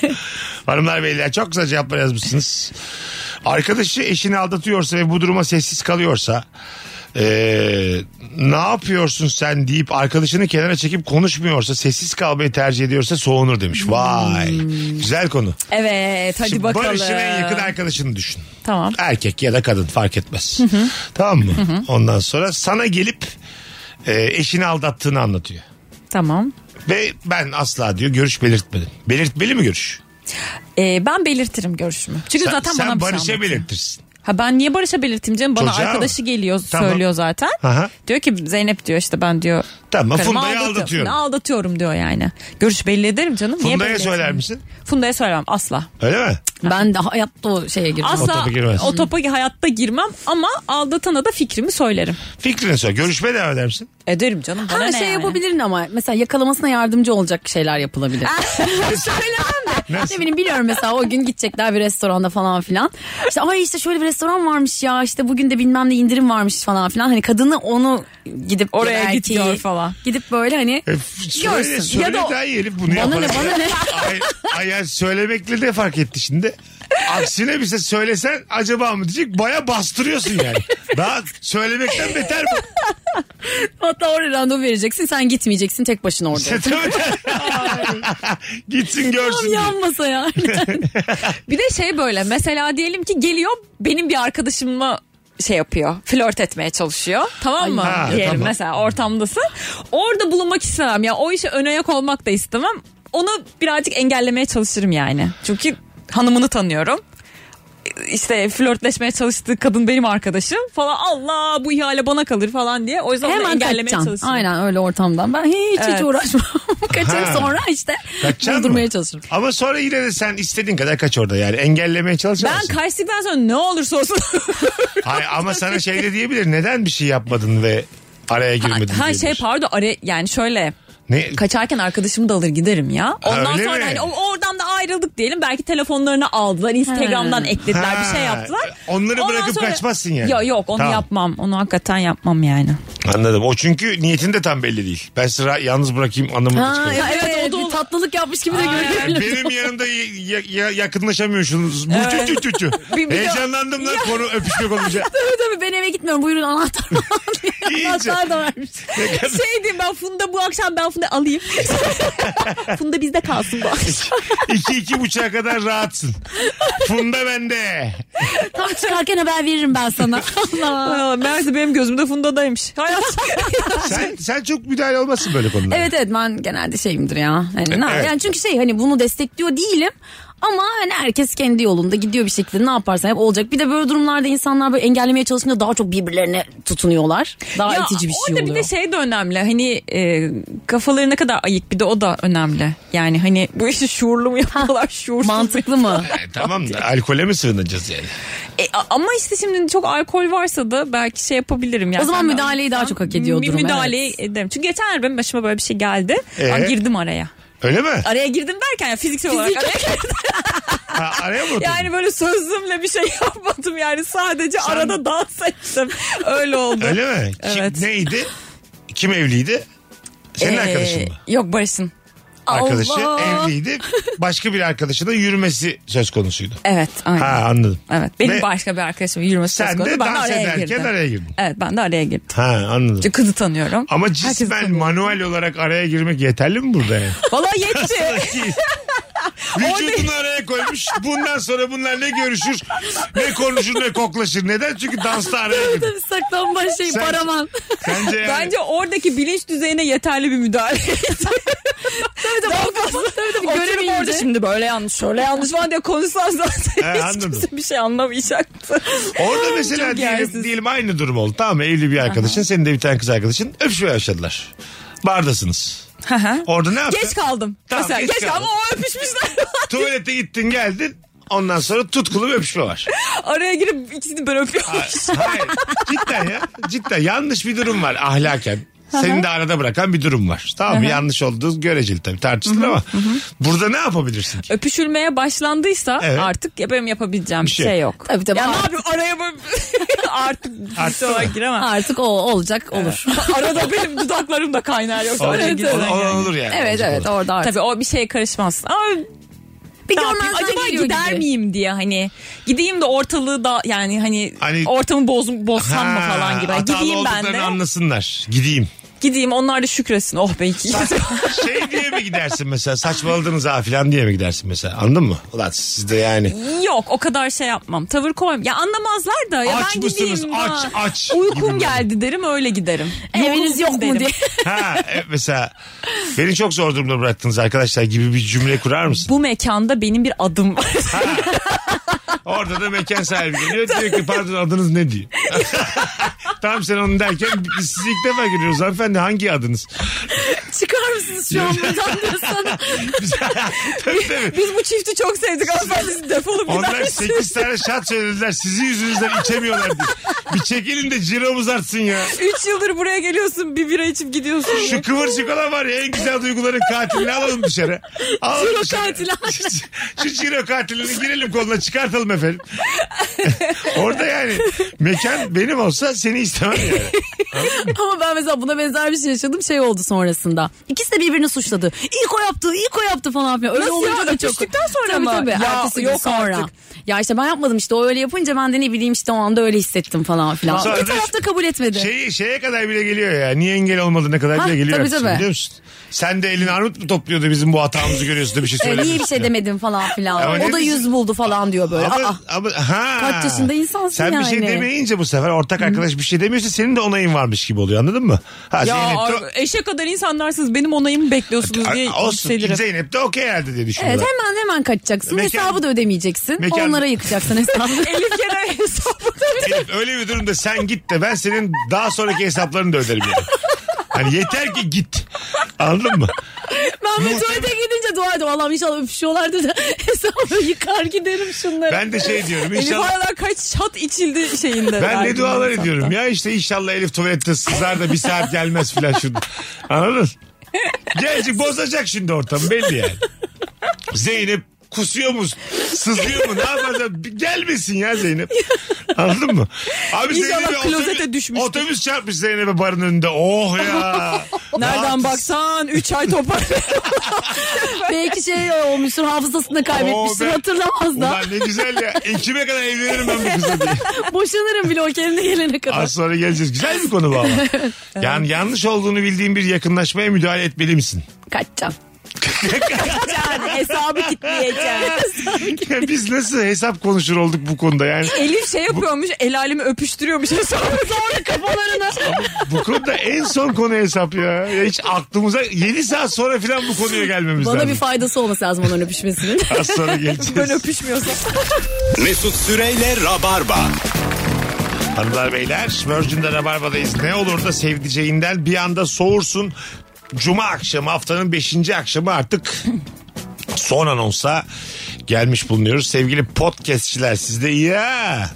Speaker 3: Hanımlar beyler çok güzel cevaplar yazmışsınız. Arkadaşı eşini aldatıyorsa ve bu duruma sessiz kalıyorsa eee, ne yapıyorsun sen deyip arkadaşını kenara çekip konuşmuyorsa sessiz kalmayı tercih ediyorsa soğunur demiş. Vay. Güzel konu.
Speaker 4: Evet Hmm. hadi
Speaker 3: Şimdi
Speaker 4: bakalım.
Speaker 3: Barış'ın en yakın arkadaşını düşün.
Speaker 4: Tamam.
Speaker 3: Erkek ya da kadın fark etmez. tamam mı? Ondan sonra sana gelip e, eşini aldattığını anlatıyor.
Speaker 4: Tamam.
Speaker 3: Ve ben asla diyor görüş belirtmedim. Belirtmeli mi görüş?
Speaker 4: Ee, ben belirtirim görüşümü. Çünkü
Speaker 3: Sen,
Speaker 4: zaten
Speaker 3: sen
Speaker 4: bana bir şey
Speaker 3: Barış'a
Speaker 4: anlatıyor.
Speaker 3: belirtirsin.
Speaker 4: Ha ben niye Barış'a belirteyim canım? Bana
Speaker 3: Çocuğa
Speaker 4: arkadaşı
Speaker 3: mı?
Speaker 4: geliyor
Speaker 3: Tamam.
Speaker 4: söylüyor zaten.
Speaker 3: Aha.
Speaker 4: Diyor ki Zeynep diyor işte ben diyor
Speaker 3: Tamam
Speaker 4: karımı
Speaker 3: Funda'yı
Speaker 4: aldatıyor-
Speaker 3: aldatıyorum.
Speaker 4: Aldatıyorum diyor yani. Görüş belli ederim canım. Niye
Speaker 3: Funda'ya
Speaker 4: belli
Speaker 3: söyler
Speaker 4: etmeyeyim?
Speaker 3: misin?
Speaker 4: Funda'ya söylemem asla.
Speaker 3: Öyle mi?
Speaker 5: Ben de hayatta o şeye girdim.
Speaker 4: Asla
Speaker 3: topa girmez.
Speaker 4: o topa hayatta girmem ama aldatana da fikrimi söylerim.
Speaker 3: Fikrini söyle. Görüşmeye devam eder misin?
Speaker 4: Ederim canım. Bana
Speaker 5: Her
Speaker 4: ne
Speaker 5: şey
Speaker 4: yani?
Speaker 5: yapabilirim ama mesela yakalamasına yardımcı olacak şeyler yapılabilir. Söylemem de. Ne bileyim biliyorum mesela o gün gidecekler bir restoranda falan filan. İşte ay işte şöyle bir restoran varmış ya işte bugün de bilmem ne indirim varmış falan filan. Hani kadını onu gidip ya da
Speaker 4: Oraya git
Speaker 5: erkeği
Speaker 4: gör falan.
Speaker 5: Gidip böyle hani
Speaker 3: E,
Speaker 5: Görsün.
Speaker 3: söyle, söyle
Speaker 5: Ya da-
Speaker 3: daha iyi herif bunu
Speaker 5: Bana ne,
Speaker 3: yapar.
Speaker 5: bana ne?
Speaker 3: Ay, ay, ay, söylemekle de fark etti şimdi. Aksine bize söylesen acaba mı diyecek baya bastırıyorsun yani. Daha söylemekten beter mi?
Speaker 5: hatta oraya randevu vereceksin sen gitmeyeceksin tek başına
Speaker 3: Şey
Speaker 5: orada.
Speaker 3: Gitsin görsün.
Speaker 5: Tam
Speaker 3: diye.
Speaker 5: yan masaya. aynen.
Speaker 4: Bir de şey böyle mesela diyelim ki geliyor benim bir arkadaşımla şey yapıyor. Flört etmeye çalışıyor. Tamam mı?
Speaker 3: Ay, ha,
Speaker 4: diyelim
Speaker 3: tamam.
Speaker 4: mesela ortamdasın. Orada bulunmak istemem. Ya o işe ön ayak olmak da istemem. Onu birazcık engellemeye çalışırım yani. Çünkü hanımını tanıyorum. İşte flörtleşmeye çalıştığı kadın benim arkadaşım falan. Allah bu ihale bana kalır falan diye. O yüzden onu
Speaker 5: Hemen
Speaker 4: engellemeye
Speaker 5: kaçacaksın.
Speaker 4: çalışırım.
Speaker 5: Aynen öyle ortamdan. Ben hiç
Speaker 4: Evet.
Speaker 5: hiç uğraşmam. Kaçayım
Speaker 3: Ha.
Speaker 5: sonra işte
Speaker 3: Kaçacaksın
Speaker 5: durdurmaya
Speaker 3: mı?
Speaker 5: çalışırım.
Speaker 3: Ama sonra yine de sen istediğin kadar kaç orada yani engellemeye
Speaker 4: Ben
Speaker 3: çalışamazsın.
Speaker 4: kaçtıktan sonra ne olursa olsun.
Speaker 3: Hayır, ama sana şey de diyebilir neden bir şey yapmadın ve araya girmedin
Speaker 4: ha şey
Speaker 3: diyebilir.
Speaker 4: pardon are, yani şöyle
Speaker 3: Ne?
Speaker 4: kaçarken arkadaşımı da alır giderim ya. Ondan
Speaker 3: Öyle
Speaker 4: sonra
Speaker 3: mi?
Speaker 4: hani o- oradan da ayrıldık diyelim. Belki telefonlarını aldılar. Instagram'dan
Speaker 5: Ha.
Speaker 4: eklediler
Speaker 3: Ha.
Speaker 4: bir şey yaptılar.
Speaker 3: Onları
Speaker 4: Ondan
Speaker 3: bırakıp kaçmazsın yani.
Speaker 4: Ya yok onu
Speaker 3: Tamam.
Speaker 4: yapmam. Onu hakikaten yapmam yani.
Speaker 3: Anladım. O çünkü niyetin de tam belli değil. Ben sıra yalnız bırakayım anlamında
Speaker 5: Ha,
Speaker 3: çıkıyor.
Speaker 5: evet,
Speaker 4: Evet,
Speaker 5: o da
Speaker 4: bir
Speaker 5: bir tatlılık yapmış gibi de
Speaker 3: Yani
Speaker 5: görünüyor.
Speaker 3: benim yanımda ya- ya- yakınlaşamıyorsunuz. Bu tü tü tü tü.
Speaker 4: Bir- bir de-
Speaker 3: Heyecanlandım lan konu öpüşmek olunca.
Speaker 5: Tabii tabii ben eve gitmiyorum buyurun anahtar falan diye.
Speaker 3: İyice.
Speaker 5: anahtar da vermiş.
Speaker 4: şey diyeyim ben Funda bu akşam ben Funda alayım. Funda bizde kalsın bu akşam.
Speaker 3: iki iki buçuğa kadar rahatsın. Funda bende.
Speaker 5: Tam çıkarken haber veririm ben sana. Allah.
Speaker 4: Aa, Meğerse benim gözümde Funda'daymış. Hayat.
Speaker 3: Sen, sen çok müdahale olmasın böyle konulara.
Speaker 5: Evet evet ben genelde şeyimdir ya. Hani, ne-
Speaker 3: Evet.
Speaker 5: yani çünkü şey hani bunu destekliyor değilim. Ama hani herkes kendi yolunda gidiyor bir şekilde ne yaparsan hep olacak. Bir de böyle durumlarda insanlar böyle engellemeye çalışınca daha çok birbirlerine tutunuyorlar. Daha
Speaker 4: Ya
Speaker 5: itici bir şey
Speaker 4: orada
Speaker 5: oluyor.
Speaker 4: bir de şey de önemli. Hani e, kafaları ne kadar ayık bir de o da önemli. Yani hani bu işi şuurlu mu yapıyorlar şuursuz mu
Speaker 5: Mantıklı mı?
Speaker 3: E, tamam da alkole mi sığınacağız yani?
Speaker 4: E, a- ama işte şimdi çok alkol varsa da belki şey yapabilirim. Yani
Speaker 5: O zaman
Speaker 4: Ben-
Speaker 5: müdahaleyi daha çok hak ediyor
Speaker 4: Mü-
Speaker 5: durum,
Speaker 4: Müdahale
Speaker 5: evet.
Speaker 4: ederim. Çünkü geçen benim başıma böyle bir şey geldi.
Speaker 3: Ee?
Speaker 4: Aa, girdim araya.
Speaker 3: Öyle mi?
Speaker 4: Araya girdim derken yani fiziksel olarak araya girdim.
Speaker 3: Ha, araya mı oturdun?
Speaker 4: Yani böyle sözlümle bir şey yapmadım yani. Sadece arada dans ettim. Öyle oldu.
Speaker 3: Öyle mi? Kim-
Speaker 4: Evet.
Speaker 3: neydi? Kim evliydi? Senin
Speaker 4: Ee,
Speaker 3: arkadaşın mı?
Speaker 4: Yok Barış'ın.
Speaker 3: Arkadaşı
Speaker 4: Allah.
Speaker 3: evliydi. Başka bir arkadaşının yürümesi söz konusuydu.
Speaker 4: Evet aynen.
Speaker 3: Ha anladım.
Speaker 4: Evet benim
Speaker 3: Ve
Speaker 4: başka bir arkadaşım yürümesi söz
Speaker 3: Sen
Speaker 4: konusu.
Speaker 3: de
Speaker 4: Ben de
Speaker 3: dans
Speaker 4: araya
Speaker 3: ederken
Speaker 4: girdim.
Speaker 3: araya girdin.
Speaker 4: Evet ben de araya girdim.
Speaker 3: Ha anladım.
Speaker 4: Çünkü kızı tanıyorum.
Speaker 3: Ama
Speaker 4: Herkesi
Speaker 3: cismen
Speaker 4: tanıyorum.
Speaker 3: manuel olarak araya girmek yeterli mi burada yani?
Speaker 4: Vallahi yetti.
Speaker 3: Vücudunu araya koymuş. Bundan sonra bunlar ne görüşür, ne konuşur, ne koklaşır. Neden? Çünkü dansta araya girdi.
Speaker 5: Tabii saklanma şey
Speaker 3: Sen-
Speaker 5: paraman.
Speaker 3: Sence yani.
Speaker 4: Bence oradaki bilinç düzeyine yeterli bir müdahale. tabii tabii.
Speaker 5: tabii,
Speaker 4: Göremeyince.
Speaker 5: göremeyince.
Speaker 4: orada şimdi böyle yanlış şöyle yanlış falan diye konuşsan zaten
Speaker 3: He,
Speaker 4: hiç
Speaker 3: anladım.
Speaker 4: kimse bir şey anlamayacaktı.
Speaker 3: Orada mesela
Speaker 4: Çok
Speaker 3: diyelim,
Speaker 4: yersiz.
Speaker 3: diyelim aynı durum oldu. Tamam mı? evli bir arkadaşın, senin de bir tane kız arkadaşın öpüşmeye başladılar. Bardasınız. Orada ne yaptın?
Speaker 4: Geç kaldım.
Speaker 3: Tamam,
Speaker 4: Mesela
Speaker 3: geç
Speaker 4: geç,
Speaker 3: kaldım.
Speaker 4: kaldım ama o öpüşmüşler.
Speaker 3: Tuvalete gittin geldin. Ondan sonra tutkulu bir öpüşme var.
Speaker 4: Araya girip ikisini böyle öpüyormuş.
Speaker 3: Hayır. Cidden ya. Cidden yanlış bir durum var ahlaken. Seni de arada bırakan bir durum var. Tamam mı? Yanlış olduğu göreceli tabii tartışılır ama. Burada ne yapabilirsin ki?
Speaker 4: Öpüşülmeye başlandıysa
Speaker 3: Evet.
Speaker 4: artık ya benim yapabileceğim bir
Speaker 3: şey
Speaker 4: şey, yok.
Speaker 5: Tabii tabii.
Speaker 4: Ya ne
Speaker 5: Artık-
Speaker 4: yapayım araya böyle artık
Speaker 3: Artık
Speaker 4: fiziksel olarak
Speaker 3: mı?
Speaker 4: giremem.
Speaker 5: Artık o olacak olur.
Speaker 4: Arada benim dudaklarım da kaynar yoksa
Speaker 3: Olur,
Speaker 4: oraya
Speaker 3: olur,
Speaker 4: giremem yani.
Speaker 3: olur yani.
Speaker 5: Evet
Speaker 3: Olacak
Speaker 5: evet
Speaker 3: olur.
Speaker 5: orada artık.
Speaker 4: Tabii o bir şeye karışmaz. Ama
Speaker 5: Bir
Speaker 4: ne
Speaker 5: görmezden
Speaker 4: yapayım? Acaba
Speaker 5: geliyor
Speaker 4: gider
Speaker 5: gibi.
Speaker 4: miyim diye hani gideyim de ortalığı da yani hani,
Speaker 3: Hani-
Speaker 4: ortamı boz, bozsam mı
Speaker 3: Ha,
Speaker 4: falan gibi.
Speaker 3: hatalı
Speaker 4: Gideyim ben
Speaker 3: olduklarını
Speaker 4: de.
Speaker 3: anlasınlar. Gideyim.
Speaker 4: Gideyim onlar da şükresin. Oh be iki.
Speaker 3: şey diye mi gidersin mesela saçmaladınız ha filan diye mi gidersin mesela anladın mı? Ulan siz de yani.
Speaker 4: Yok o kadar şey yapmam. Tavır koymayayım. Ya anlamazlar da. Ya
Speaker 3: Aç
Speaker 4: ben
Speaker 3: mısınız?
Speaker 4: gideyim daha.
Speaker 3: Aç, aç gibi mi?
Speaker 4: Uykum geldi derim öyle giderim.
Speaker 5: Eviniz yok mu
Speaker 4: derim.
Speaker 5: diye.
Speaker 3: Ha e, mesela beni çok zor durumda bıraktınız arkadaşlar gibi bir cümle kurar mısın?
Speaker 4: Bu mekanda benim bir adım var.
Speaker 3: Orada da mekan sahibi geliyor diyor ki pardon adınız ne diyor. Tam sen onu derken biz sizi ilk defa görüyoruz hanımefendi hangi adınız?
Speaker 5: Çıkar mısınız şu an buradan diyor sana.
Speaker 3: Biz- tabii tabii.
Speaker 4: Biz bu çifti çok sevdik. Hanımefendi siz defolun
Speaker 3: Onlar
Speaker 4: gider
Speaker 3: 8 tane şat söylediler sizin yüzünüzden içemiyorlar diye. Bir çekilin de ciromuz artsın ya.
Speaker 4: 3 yıldır buraya geliyorsun bir bira içip gidiyorsun.
Speaker 3: Şu kıvırcık olan var ya en güzel duyguların katilini alalım dışarı. Alalım
Speaker 5: Ciro
Speaker 3: dışarı.
Speaker 5: katili.
Speaker 3: Şu ciro katilini girelim koluna çıkartalım efendim. Orada yani mekan benim olsa seni istemem yani.
Speaker 5: Ama ben mesela buna benzer bir şey yaşadım. Şey oldu sonrasında. İkisi de birbirini suçladı. İlk o yaptı, ilk o yaptı falan filan. Öyle
Speaker 4: Nasıl
Speaker 5: olunca
Speaker 4: ya?
Speaker 5: da çok...
Speaker 4: Öpüştükten sonra
Speaker 5: tabii,
Speaker 4: mı?
Speaker 5: Tabii
Speaker 4: Ya,
Speaker 5: Ertesi gün
Speaker 4: yok
Speaker 5: sonra.
Speaker 4: artık.
Speaker 5: Ya işte ben yapmadım işte o öyle yapınca ben de ne bileyim işte o anda öyle hissettim falan filan.
Speaker 3: Sonra
Speaker 5: İki
Speaker 3: da-
Speaker 5: taraf da kabul etmedi.
Speaker 3: Şey, şeye kadar bile geliyor ya. Niye engel olmadığına kadar
Speaker 5: Ha,
Speaker 3: bile geliyor.
Speaker 5: tabii
Speaker 3: artık,
Speaker 5: tabii.
Speaker 3: Biliyor musun? Sen de elini armut mu topluyordu bizim bu hatamızı görüyorsun da bir şey
Speaker 5: E,
Speaker 3: söylemiyorsun.
Speaker 5: niye bir şey
Speaker 3: ya.
Speaker 5: demedin falan
Speaker 3: Ama
Speaker 5: filan.
Speaker 3: ne
Speaker 5: O da
Speaker 3: diyeceğim?
Speaker 5: yüz buldu falan diyor böyle.
Speaker 3: Ama,
Speaker 5: Aa,
Speaker 3: ama, ha.
Speaker 5: Kaç yaşında insansın
Speaker 3: Sen bir şey
Speaker 5: yani.
Speaker 3: demeyince bu sefer ortak arkadaş bir şey demiyorsa senin de onayın varmış gibi oluyor anladın mı? Ha,
Speaker 4: Ya
Speaker 3: Zeynep de-
Speaker 4: ar- eşe kadar insanlarsınız benim onayımı bekliyorsunuz diye
Speaker 3: A- olsun.
Speaker 4: yükselirim.
Speaker 3: Zeynep de okey herhalde diye düşünüyorlar.
Speaker 5: evet hemen hemen kaçacaksın.
Speaker 3: Mekan-
Speaker 5: hesabı da ödemeyeceksin.
Speaker 3: Mekan-
Speaker 5: Onlara yıkacaksın hesabı.
Speaker 4: Elif kere hesabı.
Speaker 3: Elif, öyle bir durumda sen git de ben senin daha sonraki hesaplarını da öderim yani. Hani yeter ki git. Anladın mı?
Speaker 5: ben bir tuvalete gidince dua ediyorum. Allah'ım inşallah öpüşüyorlardır da hesabı yıkar giderim şunları.
Speaker 3: Ben de şey diyorum
Speaker 4: Elif
Speaker 3: inşallah.
Speaker 4: aralar kaç şat içildi şeyinde.
Speaker 3: Ben ne
Speaker 4: verdiğinde
Speaker 3: dualar
Speaker 4: hesapta.
Speaker 3: ediyorum ya işte inşallah Elif tuvalette sızar da bir saat gelmez filan şurada. Anladın? Gelecek bozacak şimdi ortamı belli yani. Zeynep kusuyor mu? Sızıyor mu? Ne yapacağım? Bir Gelmesin ya Zeynep. Anladın mı? Abi
Speaker 4: İnşallah
Speaker 3: Zeynep'e
Speaker 4: klozete
Speaker 3: otobüs-
Speaker 4: düşmüştür.
Speaker 3: Otobüs çarpmış Zeynep'e barın önünde. Oh ya.
Speaker 4: Nereden
Speaker 3: Rahatsız.
Speaker 4: baksan 3 ay topar.
Speaker 5: Belki şey olmuştur hafızasını kaybetmiştir
Speaker 3: Oo, ben-
Speaker 5: hatırlamaz da.
Speaker 3: Ulan ne güzel ya. Ekim'e kadar evlenirim ben bu kıza diye.
Speaker 5: Boşanırım bile o kendine gelene kadar.
Speaker 3: Az sonra geleceğiz. Güzel bir konu bu ama. Yani yanlış olduğunu bildiğin bir yakınlaşmaya müdahale etmeli misin?
Speaker 5: Kaçacağım.
Speaker 4: Yani hesabı kitleyeceğim.
Speaker 3: Ya Biz nasıl hesap konuşur olduk bu konuda yani.
Speaker 4: Elif şey yapıyormuş el alemi öpüştürüyormuş hesabı. Sonra kafalarını.
Speaker 3: Bu konuda en son konu hesap ya. Ya Hiç aklımıza 7 saat sonra falan bu konuya gelmemiz
Speaker 5: Bana
Speaker 3: lazım.
Speaker 5: bir faydası olması lazım onların öpüşmesinin.
Speaker 3: Az sonra
Speaker 4: Ben
Speaker 3: geleceğiz.
Speaker 4: öpüşmüyorsam.
Speaker 2: Mesut Süreyle Rabarba.
Speaker 3: Hanımlar beyler Virgin'de Rabarba'dayız. Ne olur da sevdiceğinden bir anda soğursun. Cuma akşamı haftanın 5. akşamı artık son anonsa gelmiş bulunuyoruz. Sevgili podcastçiler sizde ya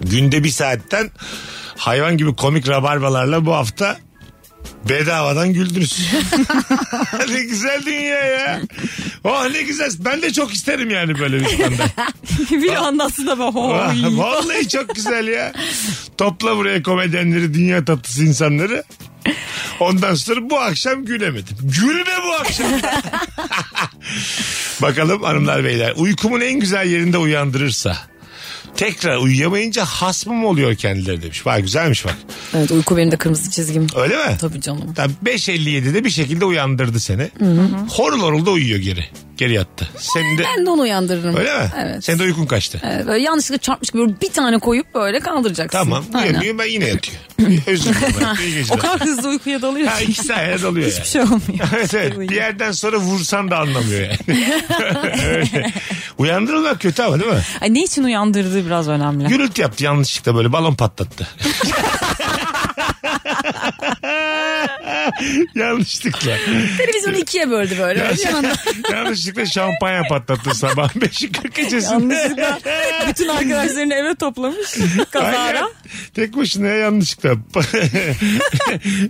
Speaker 3: günde bir saatten hayvan gibi komik rabarbalarla bu hafta bedavadan güldünüz. ne güzel dünya ya. Oh ne güzel. Ben de çok isterim yani böyle bir anda.
Speaker 4: Bir anlatsın ama.
Speaker 3: Vah,
Speaker 4: Oy.
Speaker 3: Vallahi çok güzel ya. Topla buraya komedyenleri, dünya tatlısı insanları. Ondan sonra bu akşam gülemedim. Gülme bu akşam. Bakalım hanımlar beyler. Uykumun en güzel yerinde uyandırırsa. Tekrar uyuyamayınca hasmım oluyor kendileri demiş. Vay güzelmiş bak.
Speaker 5: evet uyku benim de kırmızı çizgim.
Speaker 3: Öyle mi?
Speaker 5: Tabii canım.
Speaker 3: Tam 5.57'de bir şekilde uyandırdı seni. Horul horul da uyuyor geri. Geri yattı. Senin de...
Speaker 5: Ben de onu uyandırırım.
Speaker 3: Öyle mi?
Speaker 5: Evet.
Speaker 3: Senin de uykun kaçtı.
Speaker 5: Evet, böyle yanlışlıkla çarpmış gibi böyle bir tane koyup böyle kaldıracaksın.
Speaker 3: Tamam.
Speaker 5: Aynen.
Speaker 3: Uyanıyor ben yine yatıyor. Özür dilerim. İyi
Speaker 4: O
Speaker 3: geceler.
Speaker 4: kadar hızlı uykuya dalıyor
Speaker 3: Ha,
Speaker 4: ki.
Speaker 3: iki sayede oluyor yani.
Speaker 4: Hiçbir şey olmuyor.
Speaker 3: Evet, evet. Bir yerden sonra vursan da anlamıyor yani. Öyle. Uyandırılmak kötü ama değil mi?
Speaker 4: Ay, ne için uyandırdığı biraz önemli.
Speaker 3: Gürültü yaptı yanlışlıkla böyle balon patlattı. yanlışlıkla.
Speaker 5: Televizyonu ikiye böldü böyle. Bir yandan-
Speaker 3: yanlışlıkla şampanya patlattı sabah 5.40 gecesinde.
Speaker 4: Yanlışlıkla bütün arkadaşlarını eve toplamış
Speaker 3: Aynen.
Speaker 4: kazara.
Speaker 3: Tek başına ya, yanlışlıkla.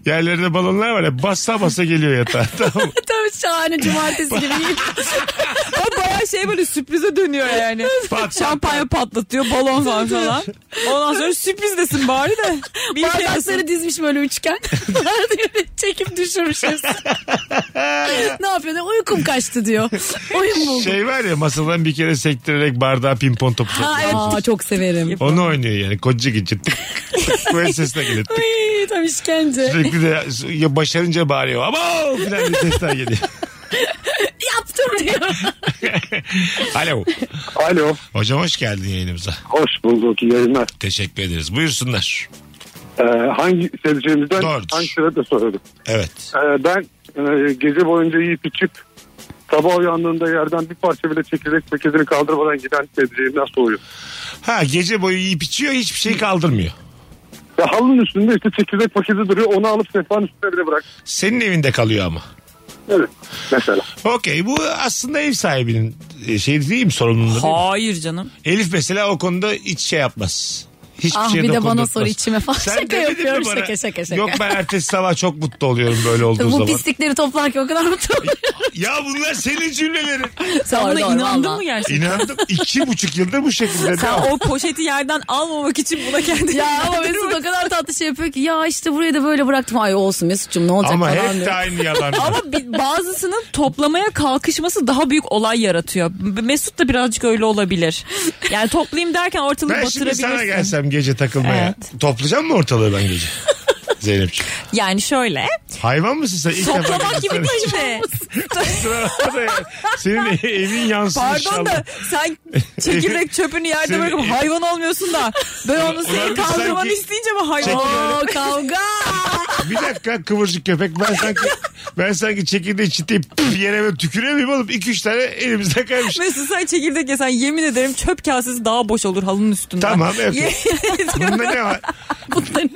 Speaker 3: Yerlerde balonlar var ya bassa bassa geliyor yatağa. Tamam. mı?
Speaker 5: Tabii şahane cumartesi gibi.
Speaker 4: O bayağı şey böyle sürprize dönüyor yani.
Speaker 3: pat.
Speaker 4: Şampanya patlatıyor balon falan falan. Ondan sonra sürpriz desin bari de. Bir şey
Speaker 5: Bardakları
Speaker 4: yesin.
Speaker 5: dizmiş böyle üçgen. Çekip düşürmüş hepsi. ne yapıyor? Ne? Uykum kaçtı diyor. Oyun buldum.
Speaker 3: Şey var ya masadan bir kere sektirerek bardağa pimpon topu.
Speaker 5: Ha, evet. Aa, çok severim.
Speaker 3: Onu oynuyor yani koca gıcı tık tık böyle sesle geliyor. Tık.
Speaker 5: Ay tam işkence.
Speaker 3: Sürekli de ya başarınca bağırıyor. Ama filan diye sesler geliyor.
Speaker 5: Yaptım diyor.
Speaker 3: Alo.
Speaker 8: Alo,
Speaker 3: Hocam hoş geldin yayınımıza.
Speaker 8: hoş bulduk iyi yayınlar.
Speaker 3: Teşekkür ederiz. Buyursunlar.
Speaker 8: Ee, hangi seveceğimizden
Speaker 3: Doğrudur.
Speaker 8: hangi sırada soruyorduk?
Speaker 3: Evet.
Speaker 8: Ee, ben e, gece boyunca yiyip içip sabah uyandığında yerden bir parça bile çekirdek çekirdeğini kaldırmadan giden seveceğimden soğuyorum.
Speaker 3: Ha gece boyu yiyip içiyor hiçbir şey kaldırmıyor.
Speaker 8: Ya halının üstünde işte çekirdek paketi duruyor onu alıp sehpanın üstüne bile bırak.
Speaker 3: Senin evinde kalıyor ama.
Speaker 8: Evet mesela.
Speaker 3: Okey bu aslında ev sahibinin e, şey değil mi sorumluluğu? değil mi?
Speaker 4: Hayır canım.
Speaker 3: Elif mesela o konuda hiç şey yapmaz. Hiçbir şey
Speaker 5: Ah,
Speaker 3: şeye
Speaker 5: bir de bana
Speaker 3: dokundurtmaz.
Speaker 5: sor içime falan. Şaka
Speaker 3: demedin mi
Speaker 5: yapıyorum,
Speaker 3: bana?
Speaker 5: şaka, şaka, şaka.
Speaker 3: Yok ben ertesi sabah çok mutlu oluyorum böyle olduğu
Speaker 5: Bu
Speaker 3: zaman.
Speaker 5: pislikleri toplarken o kadar mutlu oluyorum.
Speaker 3: Ya bunlar senin cümlelerin.
Speaker 4: Sen buna
Speaker 5: Doğru,
Speaker 4: inandın
Speaker 5: valla.
Speaker 4: mı gerçekten?
Speaker 3: İnandım iki buçuk yıldır bu şekilde.
Speaker 4: Sen
Speaker 3: devam.
Speaker 4: o poşeti yerden almamak için buna kendini
Speaker 5: Ya ama Mesut o kadar tatlı şey yapıyor ki ya işte buraya da böyle bıraktım. Ay olsun Mesut'cum ne olacak
Speaker 3: Ama
Speaker 5: falan
Speaker 3: hep
Speaker 5: diyor.
Speaker 3: de aynı yalan.
Speaker 4: Ama bir- bazısının toplamaya kalkışması daha büyük olay yaratıyor. M- Mesut da birazcık öyle olabilir. Yani toplayayım derken ortalığı
Speaker 3: ben şimdi sana
Speaker 4: batırabilirsin.
Speaker 3: gelsem gece takılmaya.
Speaker 4: Evet.
Speaker 3: Toplayacağım mı ortalığı ben gece? Zeynep'ciğim.
Speaker 4: Yani şöyle.
Speaker 3: Hayvan mısın sen? İlk defa
Speaker 4: Toplamak gibi
Speaker 3: gece
Speaker 4: değil mi?
Speaker 3: sana- sana- Senin evin yansın
Speaker 4: Pardon
Speaker 3: inşallah.
Speaker 4: da sen çekirdek çöpünü yerde
Speaker 3: Seni-
Speaker 4: bırakıp hayvan olmuyorsun da ben onu
Speaker 3: Ulan
Speaker 4: senin
Speaker 3: biz
Speaker 4: kaldırmanı
Speaker 3: sanki-
Speaker 4: isteyince mi hayvan?
Speaker 3: Çekirdeği-
Speaker 5: Oo kavga.
Speaker 3: Bir dakika kıvırcık köpek. Ben sanki ben sanki çekirdeği çitip püf yere böyle tükürüyor muyum oğlum? İki üç tane elimizde kaymış.
Speaker 4: Mesut sen çekirdek yesen yemin ederim çöp kasesi daha boş olur halının üstünden.
Speaker 3: Tamam, evet.
Speaker 4: Ye-
Speaker 3: Bunda ne var?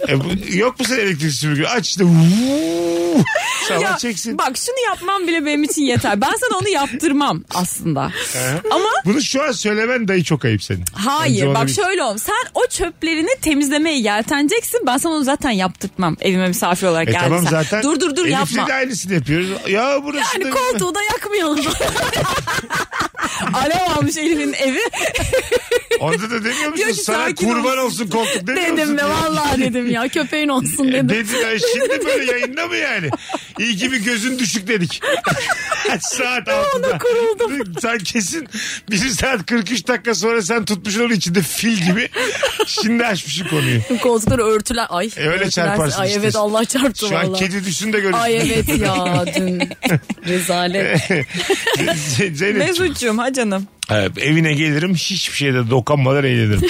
Speaker 3: E, bu- yok mu senin elektrik süpürge? Aç işte. Vuuu. Sabah
Speaker 4: Ya,
Speaker 3: çeksin.
Speaker 4: Bak şunu yapmam bile benim için yeter. Ben sana onu yaptırmam aslında. Ama
Speaker 3: Bunu şu an söylemen dahi çok ayıp senin. Bence
Speaker 4: hayır
Speaker 3: ona
Speaker 4: bak
Speaker 3: bir-
Speaker 4: şöyle ol. Sen o çöplerini temizlemeye yelteneceksin. Ben sana onu zaten yaptırtmam evime misafir olarak
Speaker 3: E
Speaker 4: geldiysen.
Speaker 3: tamam zaten.
Speaker 4: Dur dur dur
Speaker 3: Elif'le
Speaker 4: yapma.
Speaker 3: de aynısını yapıyoruz. Ya burası
Speaker 5: Yani
Speaker 3: da...
Speaker 5: koltuğu da yakmıyor.
Speaker 4: Alev almış Elif'in evi.
Speaker 3: Orada da demiyor musun?
Speaker 4: Diyor ki,
Speaker 3: Sana
Speaker 4: sakin
Speaker 3: kurban olsun koltuk demiyor
Speaker 5: dedim
Speaker 3: musun?
Speaker 5: ve vallahi dedim ya köpeğin olsun
Speaker 3: E,
Speaker 5: dedim.
Speaker 3: Dedin ya şimdi böyle yayında mı yani? İyi ki bir gözün düşük dedik. saat altıda. Sen kesin bir saat 43 dakika sonra sen tutmuşsun onu içinde fil gibi. Şimdi açmışsın konuyu.
Speaker 5: Koltukları örtüler. Ay.
Speaker 3: E, öyle
Speaker 5: örtüler-
Speaker 3: çarparsın
Speaker 5: Ay
Speaker 3: işte.
Speaker 5: evet Allah çarptı
Speaker 3: Şu an
Speaker 5: valla.
Speaker 3: kedi düşsün de görürsün.
Speaker 5: Ay evet ya dün rezalet.
Speaker 3: Z- Zeynep
Speaker 4: Mesut'cum ha canım.
Speaker 3: Evet, evine gelirim hiçbir şeyde dokunmadan eğlenirim.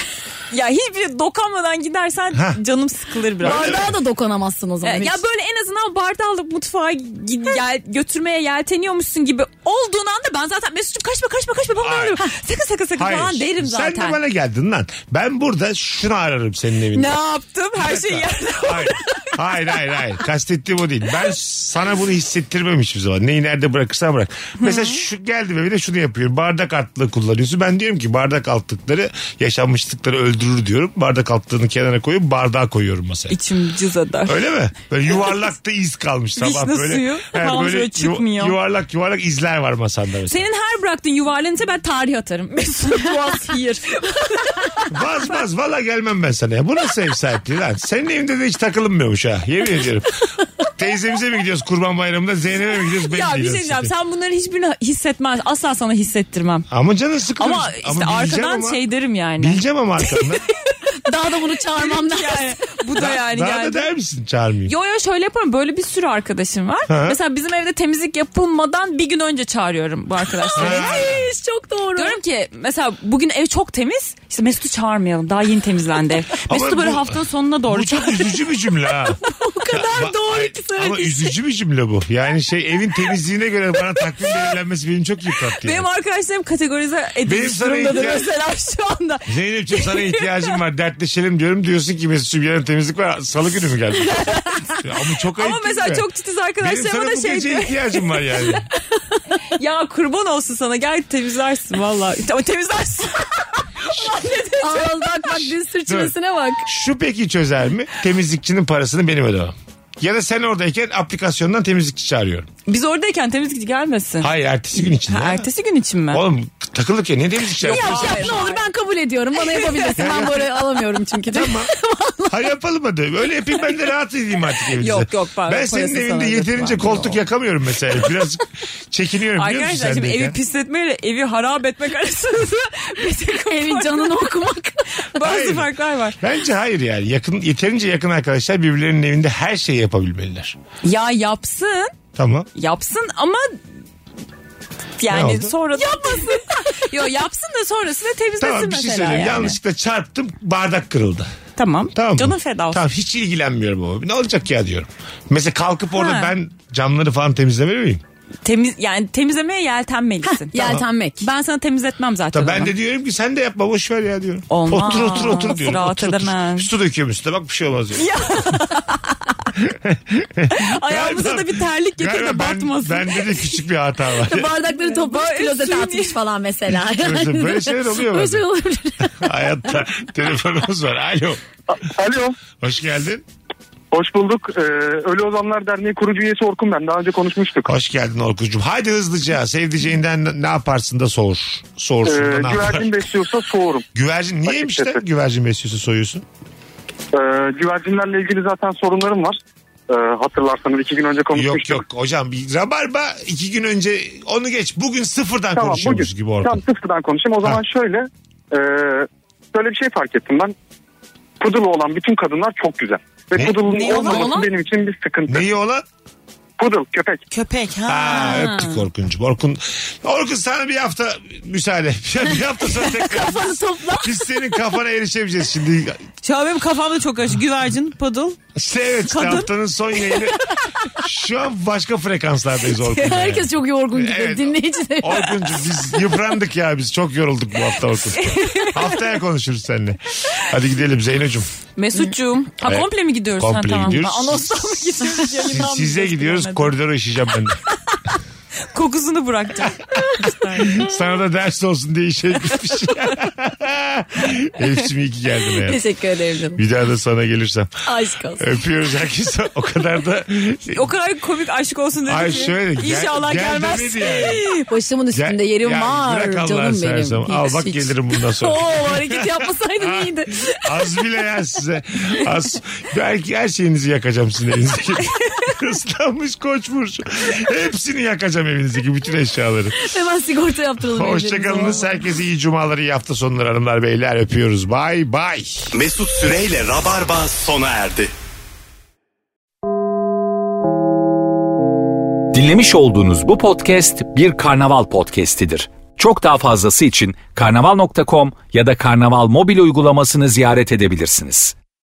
Speaker 4: Ya hiçbir dokanmadan gidersen
Speaker 3: Heh.
Speaker 4: canım sıkılır biraz.
Speaker 5: Bardağa da dokunamazsın o
Speaker 4: E,
Speaker 5: zaman.
Speaker 4: Ya
Speaker 5: hiç.
Speaker 4: böyle en azından bardağı alıp mutfağa gi- gel, götürmeye yelteniyormuşsun gibi olduğun anda ben zaten Mesut'cum kaçma kaçma kaçma bana
Speaker 3: Hayır.
Speaker 4: ölüyorum. Sakın sakın sakın
Speaker 3: Hayır.
Speaker 4: falan derim zaten.
Speaker 3: Sen de bana geldin lan. Ben burada şunu ararım senin evinde.
Speaker 4: Ne yaptım? Her şey şeyi yerden
Speaker 3: Hayır. Hayır hayır hayır. Kastettiğim o değil. Ben sana bunu hissettirmem hiçbir zaman. Neyi nerede bırakırsan bırak. Mesela şu geldi ve bir de şunu yapıyorum. Bardak altlığı kullanıyorsun. Ben diyorum ki bardak altlıkları yaşanmışlıkları öldürür diyorum. Bardak altlığını kenara koyup bardağa koyuyorum masaya.
Speaker 4: İçim cız eder.
Speaker 3: Öyle mi? Böyle yuvarlakta iz kalmış sabah
Speaker 4: Vişne
Speaker 3: böyle.
Speaker 4: suyu. Tam böyle
Speaker 3: yu-
Speaker 4: çıkmıyor.
Speaker 3: yuvarlak yuvarlak izler var masanda mesela.
Speaker 4: Senin her bıraktığın yuvarlanınca ben tarih atarım. Mesut was here.
Speaker 3: Vaz vaz valla gelmem ben sana ya. Bu nasıl ev sahipliği lan? Senin evinde de hiç takılınmıyormuş ha. Yemin ediyorum. Teyzemize mi gidiyoruz kurban bayramında? Zeynep'e mi gidiyoruz? Belli
Speaker 4: ya bir
Speaker 3: değil
Speaker 4: şey
Speaker 3: aslında.
Speaker 4: diyeceğim. Sen bunların hiçbirini hissetmez. Asla sana hissettirmem.
Speaker 3: Ama canın sıkılır.
Speaker 4: Ama işte arkadan şey derim yani.
Speaker 3: Bileceğim ama arkandan.
Speaker 5: Daha da bunu çağırmam lazım.
Speaker 4: yani bu da yani
Speaker 3: Daha
Speaker 4: hani geldi.
Speaker 3: da der misin çağırmayayım?
Speaker 4: Yo yo şöyle yaparım. Böyle bir sürü arkadaşım var.
Speaker 3: Ha.
Speaker 4: Mesela bizim evde temizlik yapılmadan bir gün önce çağırıyorum bu arkadaşları.
Speaker 3: Ha.
Speaker 5: Hiç çok doğru.
Speaker 4: Diyorum ki mesela bugün ev çok temiz. İşte Mesut'u çağırmayalım. Daha yeni temizlendi ev.
Speaker 3: Ama
Speaker 4: Mesut'u böyle
Speaker 3: bu-
Speaker 4: haftanın sonuna doğru
Speaker 3: Bu çok üzücü bir cümle ha.
Speaker 4: Bu kadar
Speaker 3: Ay, Ama
Speaker 4: şey-
Speaker 3: üzücü bir cümle bu. Yani şey evin temizliğine göre bana takvim belirlenmesi benim çok yıprattı. yani.
Speaker 4: Benim arkadaşlarım kategorize
Speaker 3: Benim
Speaker 4: edilmiş
Speaker 3: sana
Speaker 4: durumdadır
Speaker 3: ihtiyaç-
Speaker 4: mesela şu anda.
Speaker 3: Zeynep'ciğim sana ihtiyacım var dertleşelim diyorum. Diyorsun ki Mesut'cum yarın temizlik var. Salı günü mü geldi? Ya Ama çok ayıp
Speaker 4: Ama
Speaker 3: değil
Speaker 4: mesela
Speaker 3: mi?
Speaker 4: çok
Speaker 3: Benim
Speaker 4: titiz
Speaker 3: sana
Speaker 4: arkadaşlarıma da
Speaker 3: bu
Speaker 4: şey
Speaker 3: gece
Speaker 4: diyor.
Speaker 3: ihtiyacım var yani.
Speaker 4: Ya kurban olsun sana gel temizlersin valla. Te- temizlersin.
Speaker 5: Al bak bak dün sürçmesine bak.
Speaker 3: Şu peki çözer mi? Temizlikçinin parasını benim ödemem. Ya da sen oradayken aplikasyondan temizlikçi çağırıyorum.
Speaker 4: Biz oradayken temizlik gelmesin.
Speaker 3: Hayır ertesi gün için.
Speaker 4: Ha,
Speaker 3: ya.
Speaker 4: ertesi gün için mi?
Speaker 3: Oğlum takılık ya ne temizlikler
Speaker 5: Ya
Speaker 3: yapıyorsun?
Speaker 5: yap, ne olur ben kabul ediyorum. Bana yapabilirsin. ben böyle alamıyorum çünkü.
Speaker 3: Tamam. Hayır yapalım hadi. Öyle yapayım ben de rahat edeyim artık evinize.
Speaker 4: Yok, yok, ben
Speaker 3: Ben
Speaker 4: parası
Speaker 3: senin
Speaker 4: sana
Speaker 3: evinde
Speaker 4: ödedim
Speaker 3: yeterince
Speaker 4: ben.
Speaker 3: koltuk yakamıyorum mesela. Biraz çekiniyorum biliyor musun
Speaker 4: Arkadaşlar
Speaker 3: sen
Speaker 4: şimdi
Speaker 3: de?
Speaker 4: evi pisletmeyle evi harap etmek arasında bir takım
Speaker 5: Evin
Speaker 4: fark-
Speaker 5: canını okumak.
Speaker 4: bazı
Speaker 3: Hayır.
Speaker 4: farklar var.
Speaker 3: Bence hayır yani. Yakın, yeterince yakın arkadaşlar birbirlerinin evinde her şeyi yapabilmeliler.
Speaker 4: Ya yapsın
Speaker 3: Tamam.
Speaker 4: yapsın ama
Speaker 3: Ne
Speaker 4: yani
Speaker 3: oldu?
Speaker 4: sonra yapmasın. Yo yapsın da sonrasında temizlesin
Speaker 3: Tamam bir şey
Speaker 4: mesela.
Speaker 3: söyleyeyim.
Speaker 4: yani.
Speaker 3: Yanlışlıkla çarptım bardak kırıldı.
Speaker 4: Tamam.
Speaker 3: Tamam mı?
Speaker 4: Canın feda olsun.
Speaker 3: Tamam hiç ilgilenmiyorum ama. Ne olacak ya diyorum. Mesela kalkıp orada
Speaker 4: Ha.
Speaker 3: ben camları falan temizlemeli miyim?
Speaker 4: Temiz yani temizlemeye yeltenmelisin.
Speaker 5: Yeltenmek.
Speaker 4: Ben sana temizletmem zaten.
Speaker 3: Tabii ben
Speaker 4: onu.
Speaker 3: de diyorum ki sen de yapma boş ver ya diyorum.
Speaker 4: Olmaz.
Speaker 3: Otur otur otur diyorum.
Speaker 4: Rahat
Speaker 3: otur, otur.
Speaker 4: edemem.
Speaker 3: Su döküyorum üstüne bak bir şey olmaz diyorum.
Speaker 4: Ayağımıza da bir terlik getir
Speaker 3: Galiba ben-
Speaker 4: de batmasın.
Speaker 3: Bende de küçük bir hata var.
Speaker 5: Bardakları toplayıp klozete
Speaker 4: suyun-
Speaker 5: atmış falan mesela.
Speaker 3: Böyle- şey- böyle şeyler oluyor
Speaker 5: Böyle
Speaker 3: bazen.
Speaker 5: şey olabilir.
Speaker 3: Hayatta telefonumuz var. Alo.
Speaker 8: Alo.
Speaker 3: Hoş geldin.
Speaker 8: Hoş bulduk. Ee, Ölü Ozanlar Derneği kurucu üyesi Orkun ben. Daha önce konuşmuştuk.
Speaker 3: Hoş geldin Orkucuğum. Haydi hızlıca sevdiceğinden ne- ne yaparsın da soğur.
Speaker 8: Ee,
Speaker 3: Soğursun da ne yapar.
Speaker 8: güvercin besliyorsa soğurum.
Speaker 3: Güvercin niyeymiş de
Speaker 8: Açıkçası.
Speaker 3: güvercin besliyorsun soyuyorsun?
Speaker 8: Ee, güvercinlerle ilgili zaten sorunlarım var. Ee, hatırlarsanız iki gün önce
Speaker 3: Yok
Speaker 8: konuşmuştuk.
Speaker 3: yok hocam bir rabarba iki gün önce onu geç bugün sıfırdan
Speaker 8: Tamam
Speaker 3: konuşuyormuş
Speaker 8: bugün.
Speaker 3: gibi Orkun.
Speaker 8: Tam sıfırdan konuşayım. O zaman
Speaker 3: Ha.
Speaker 8: şöyle. E, şöyle bir şey fark ettim ben. Pudulu olan bütün kadınlar çok güzel. Ve
Speaker 3: Ne?
Speaker 8: pudulun
Speaker 4: Ne olan
Speaker 8: olmaması
Speaker 4: olan?
Speaker 8: benim için bir sıkıntı.
Speaker 3: Neyi olan?
Speaker 8: Pudul köpek.
Speaker 4: Köpek ha.
Speaker 3: Aa, öptük Orkun'cum. Orkun, Orkun sana bir hafta müsaade. bir hafta sonra tekrar.
Speaker 5: Kafanı topla.
Speaker 3: Biz senin kafana erişemeyeceğiz şimdi.
Speaker 4: Şu an benim kafamda çok karışık. Güvercin, pudul.
Speaker 3: İşte evet işte
Speaker 4: Kadın.
Speaker 3: haftanın son yayını. Şu an başka frekanslardayız Orkun'la. yani.
Speaker 5: Herkes çok yorgun gibi.
Speaker 3: Evet.
Speaker 5: Dinleyici de.
Speaker 3: Orkun'cum biz yıprandık ya biz çok yorulduk bu hafta Orkun. Haftaya konuşuruz seninle. Hadi gidelim Zeyno'cum.
Speaker 4: Mesut'cuğum. Ha
Speaker 3: Evet.
Speaker 4: komple mi gidiyoruz? Ha,
Speaker 3: Komple
Speaker 4: tamam.
Speaker 3: gidiyoruz.
Speaker 4: Ben Anonsdan mı gidiyoruz?
Speaker 3: Siz,
Speaker 4: Yayından mı
Speaker 3: size gidiyoruz
Speaker 4: bilemedim.
Speaker 3: koridora işeyeceğim ben de.
Speaker 4: Kokusunu bırakacağım.
Speaker 3: Sana da ders olsun diye işe gitmiş. Elif'cim iyi ki geldin ya.
Speaker 5: Teşekkür ederim canım.
Speaker 3: Bir daha da sana gelirsem.
Speaker 5: Aşk olsun.
Speaker 3: Öpüyoruz herkese. O kadar da...
Speaker 4: o kadar komik aşk olsun dedi
Speaker 3: Ay
Speaker 4: ki.
Speaker 3: şöyle. gel-
Speaker 4: İnşallah
Speaker 3: gel
Speaker 4: gelmez.
Speaker 3: demedi yani.
Speaker 5: Başımın
Speaker 3: Gel-
Speaker 5: üstünde yerim
Speaker 3: yani
Speaker 5: var.
Speaker 3: Bırak Allah'ını
Speaker 5: Canım benim.
Speaker 3: seversen. Al bak
Speaker 5: Hiç.
Speaker 3: gelirim bundan
Speaker 4: Oh,
Speaker 3: sonra.
Speaker 5: Oo hareket yapmasaydın iyiydi.
Speaker 3: Az bile ya size. Az. Belki her şeyinizi yakacağım sizin evinizdeki. Islanmış koç burcu. Hepsini yakacağım evinizdeki bütün eşyaları.
Speaker 5: Hemen sigorta yaptıralım.
Speaker 3: Hoşçakalınız.
Speaker 5: evlerimize.
Speaker 3: Herkese iyi cumaları, iyi hafta sonları hanımlar beyler. Öpüyoruz. Bay bay.
Speaker 2: Mesut Süreyle Rabarba sona erdi.
Speaker 1: Dinlemiş olduğunuz bu podcast bir karnaval podcastidir. Çok daha fazlası için karnaval.com ya da karnaval mobil uygulamasını ziyaret edebilirsiniz.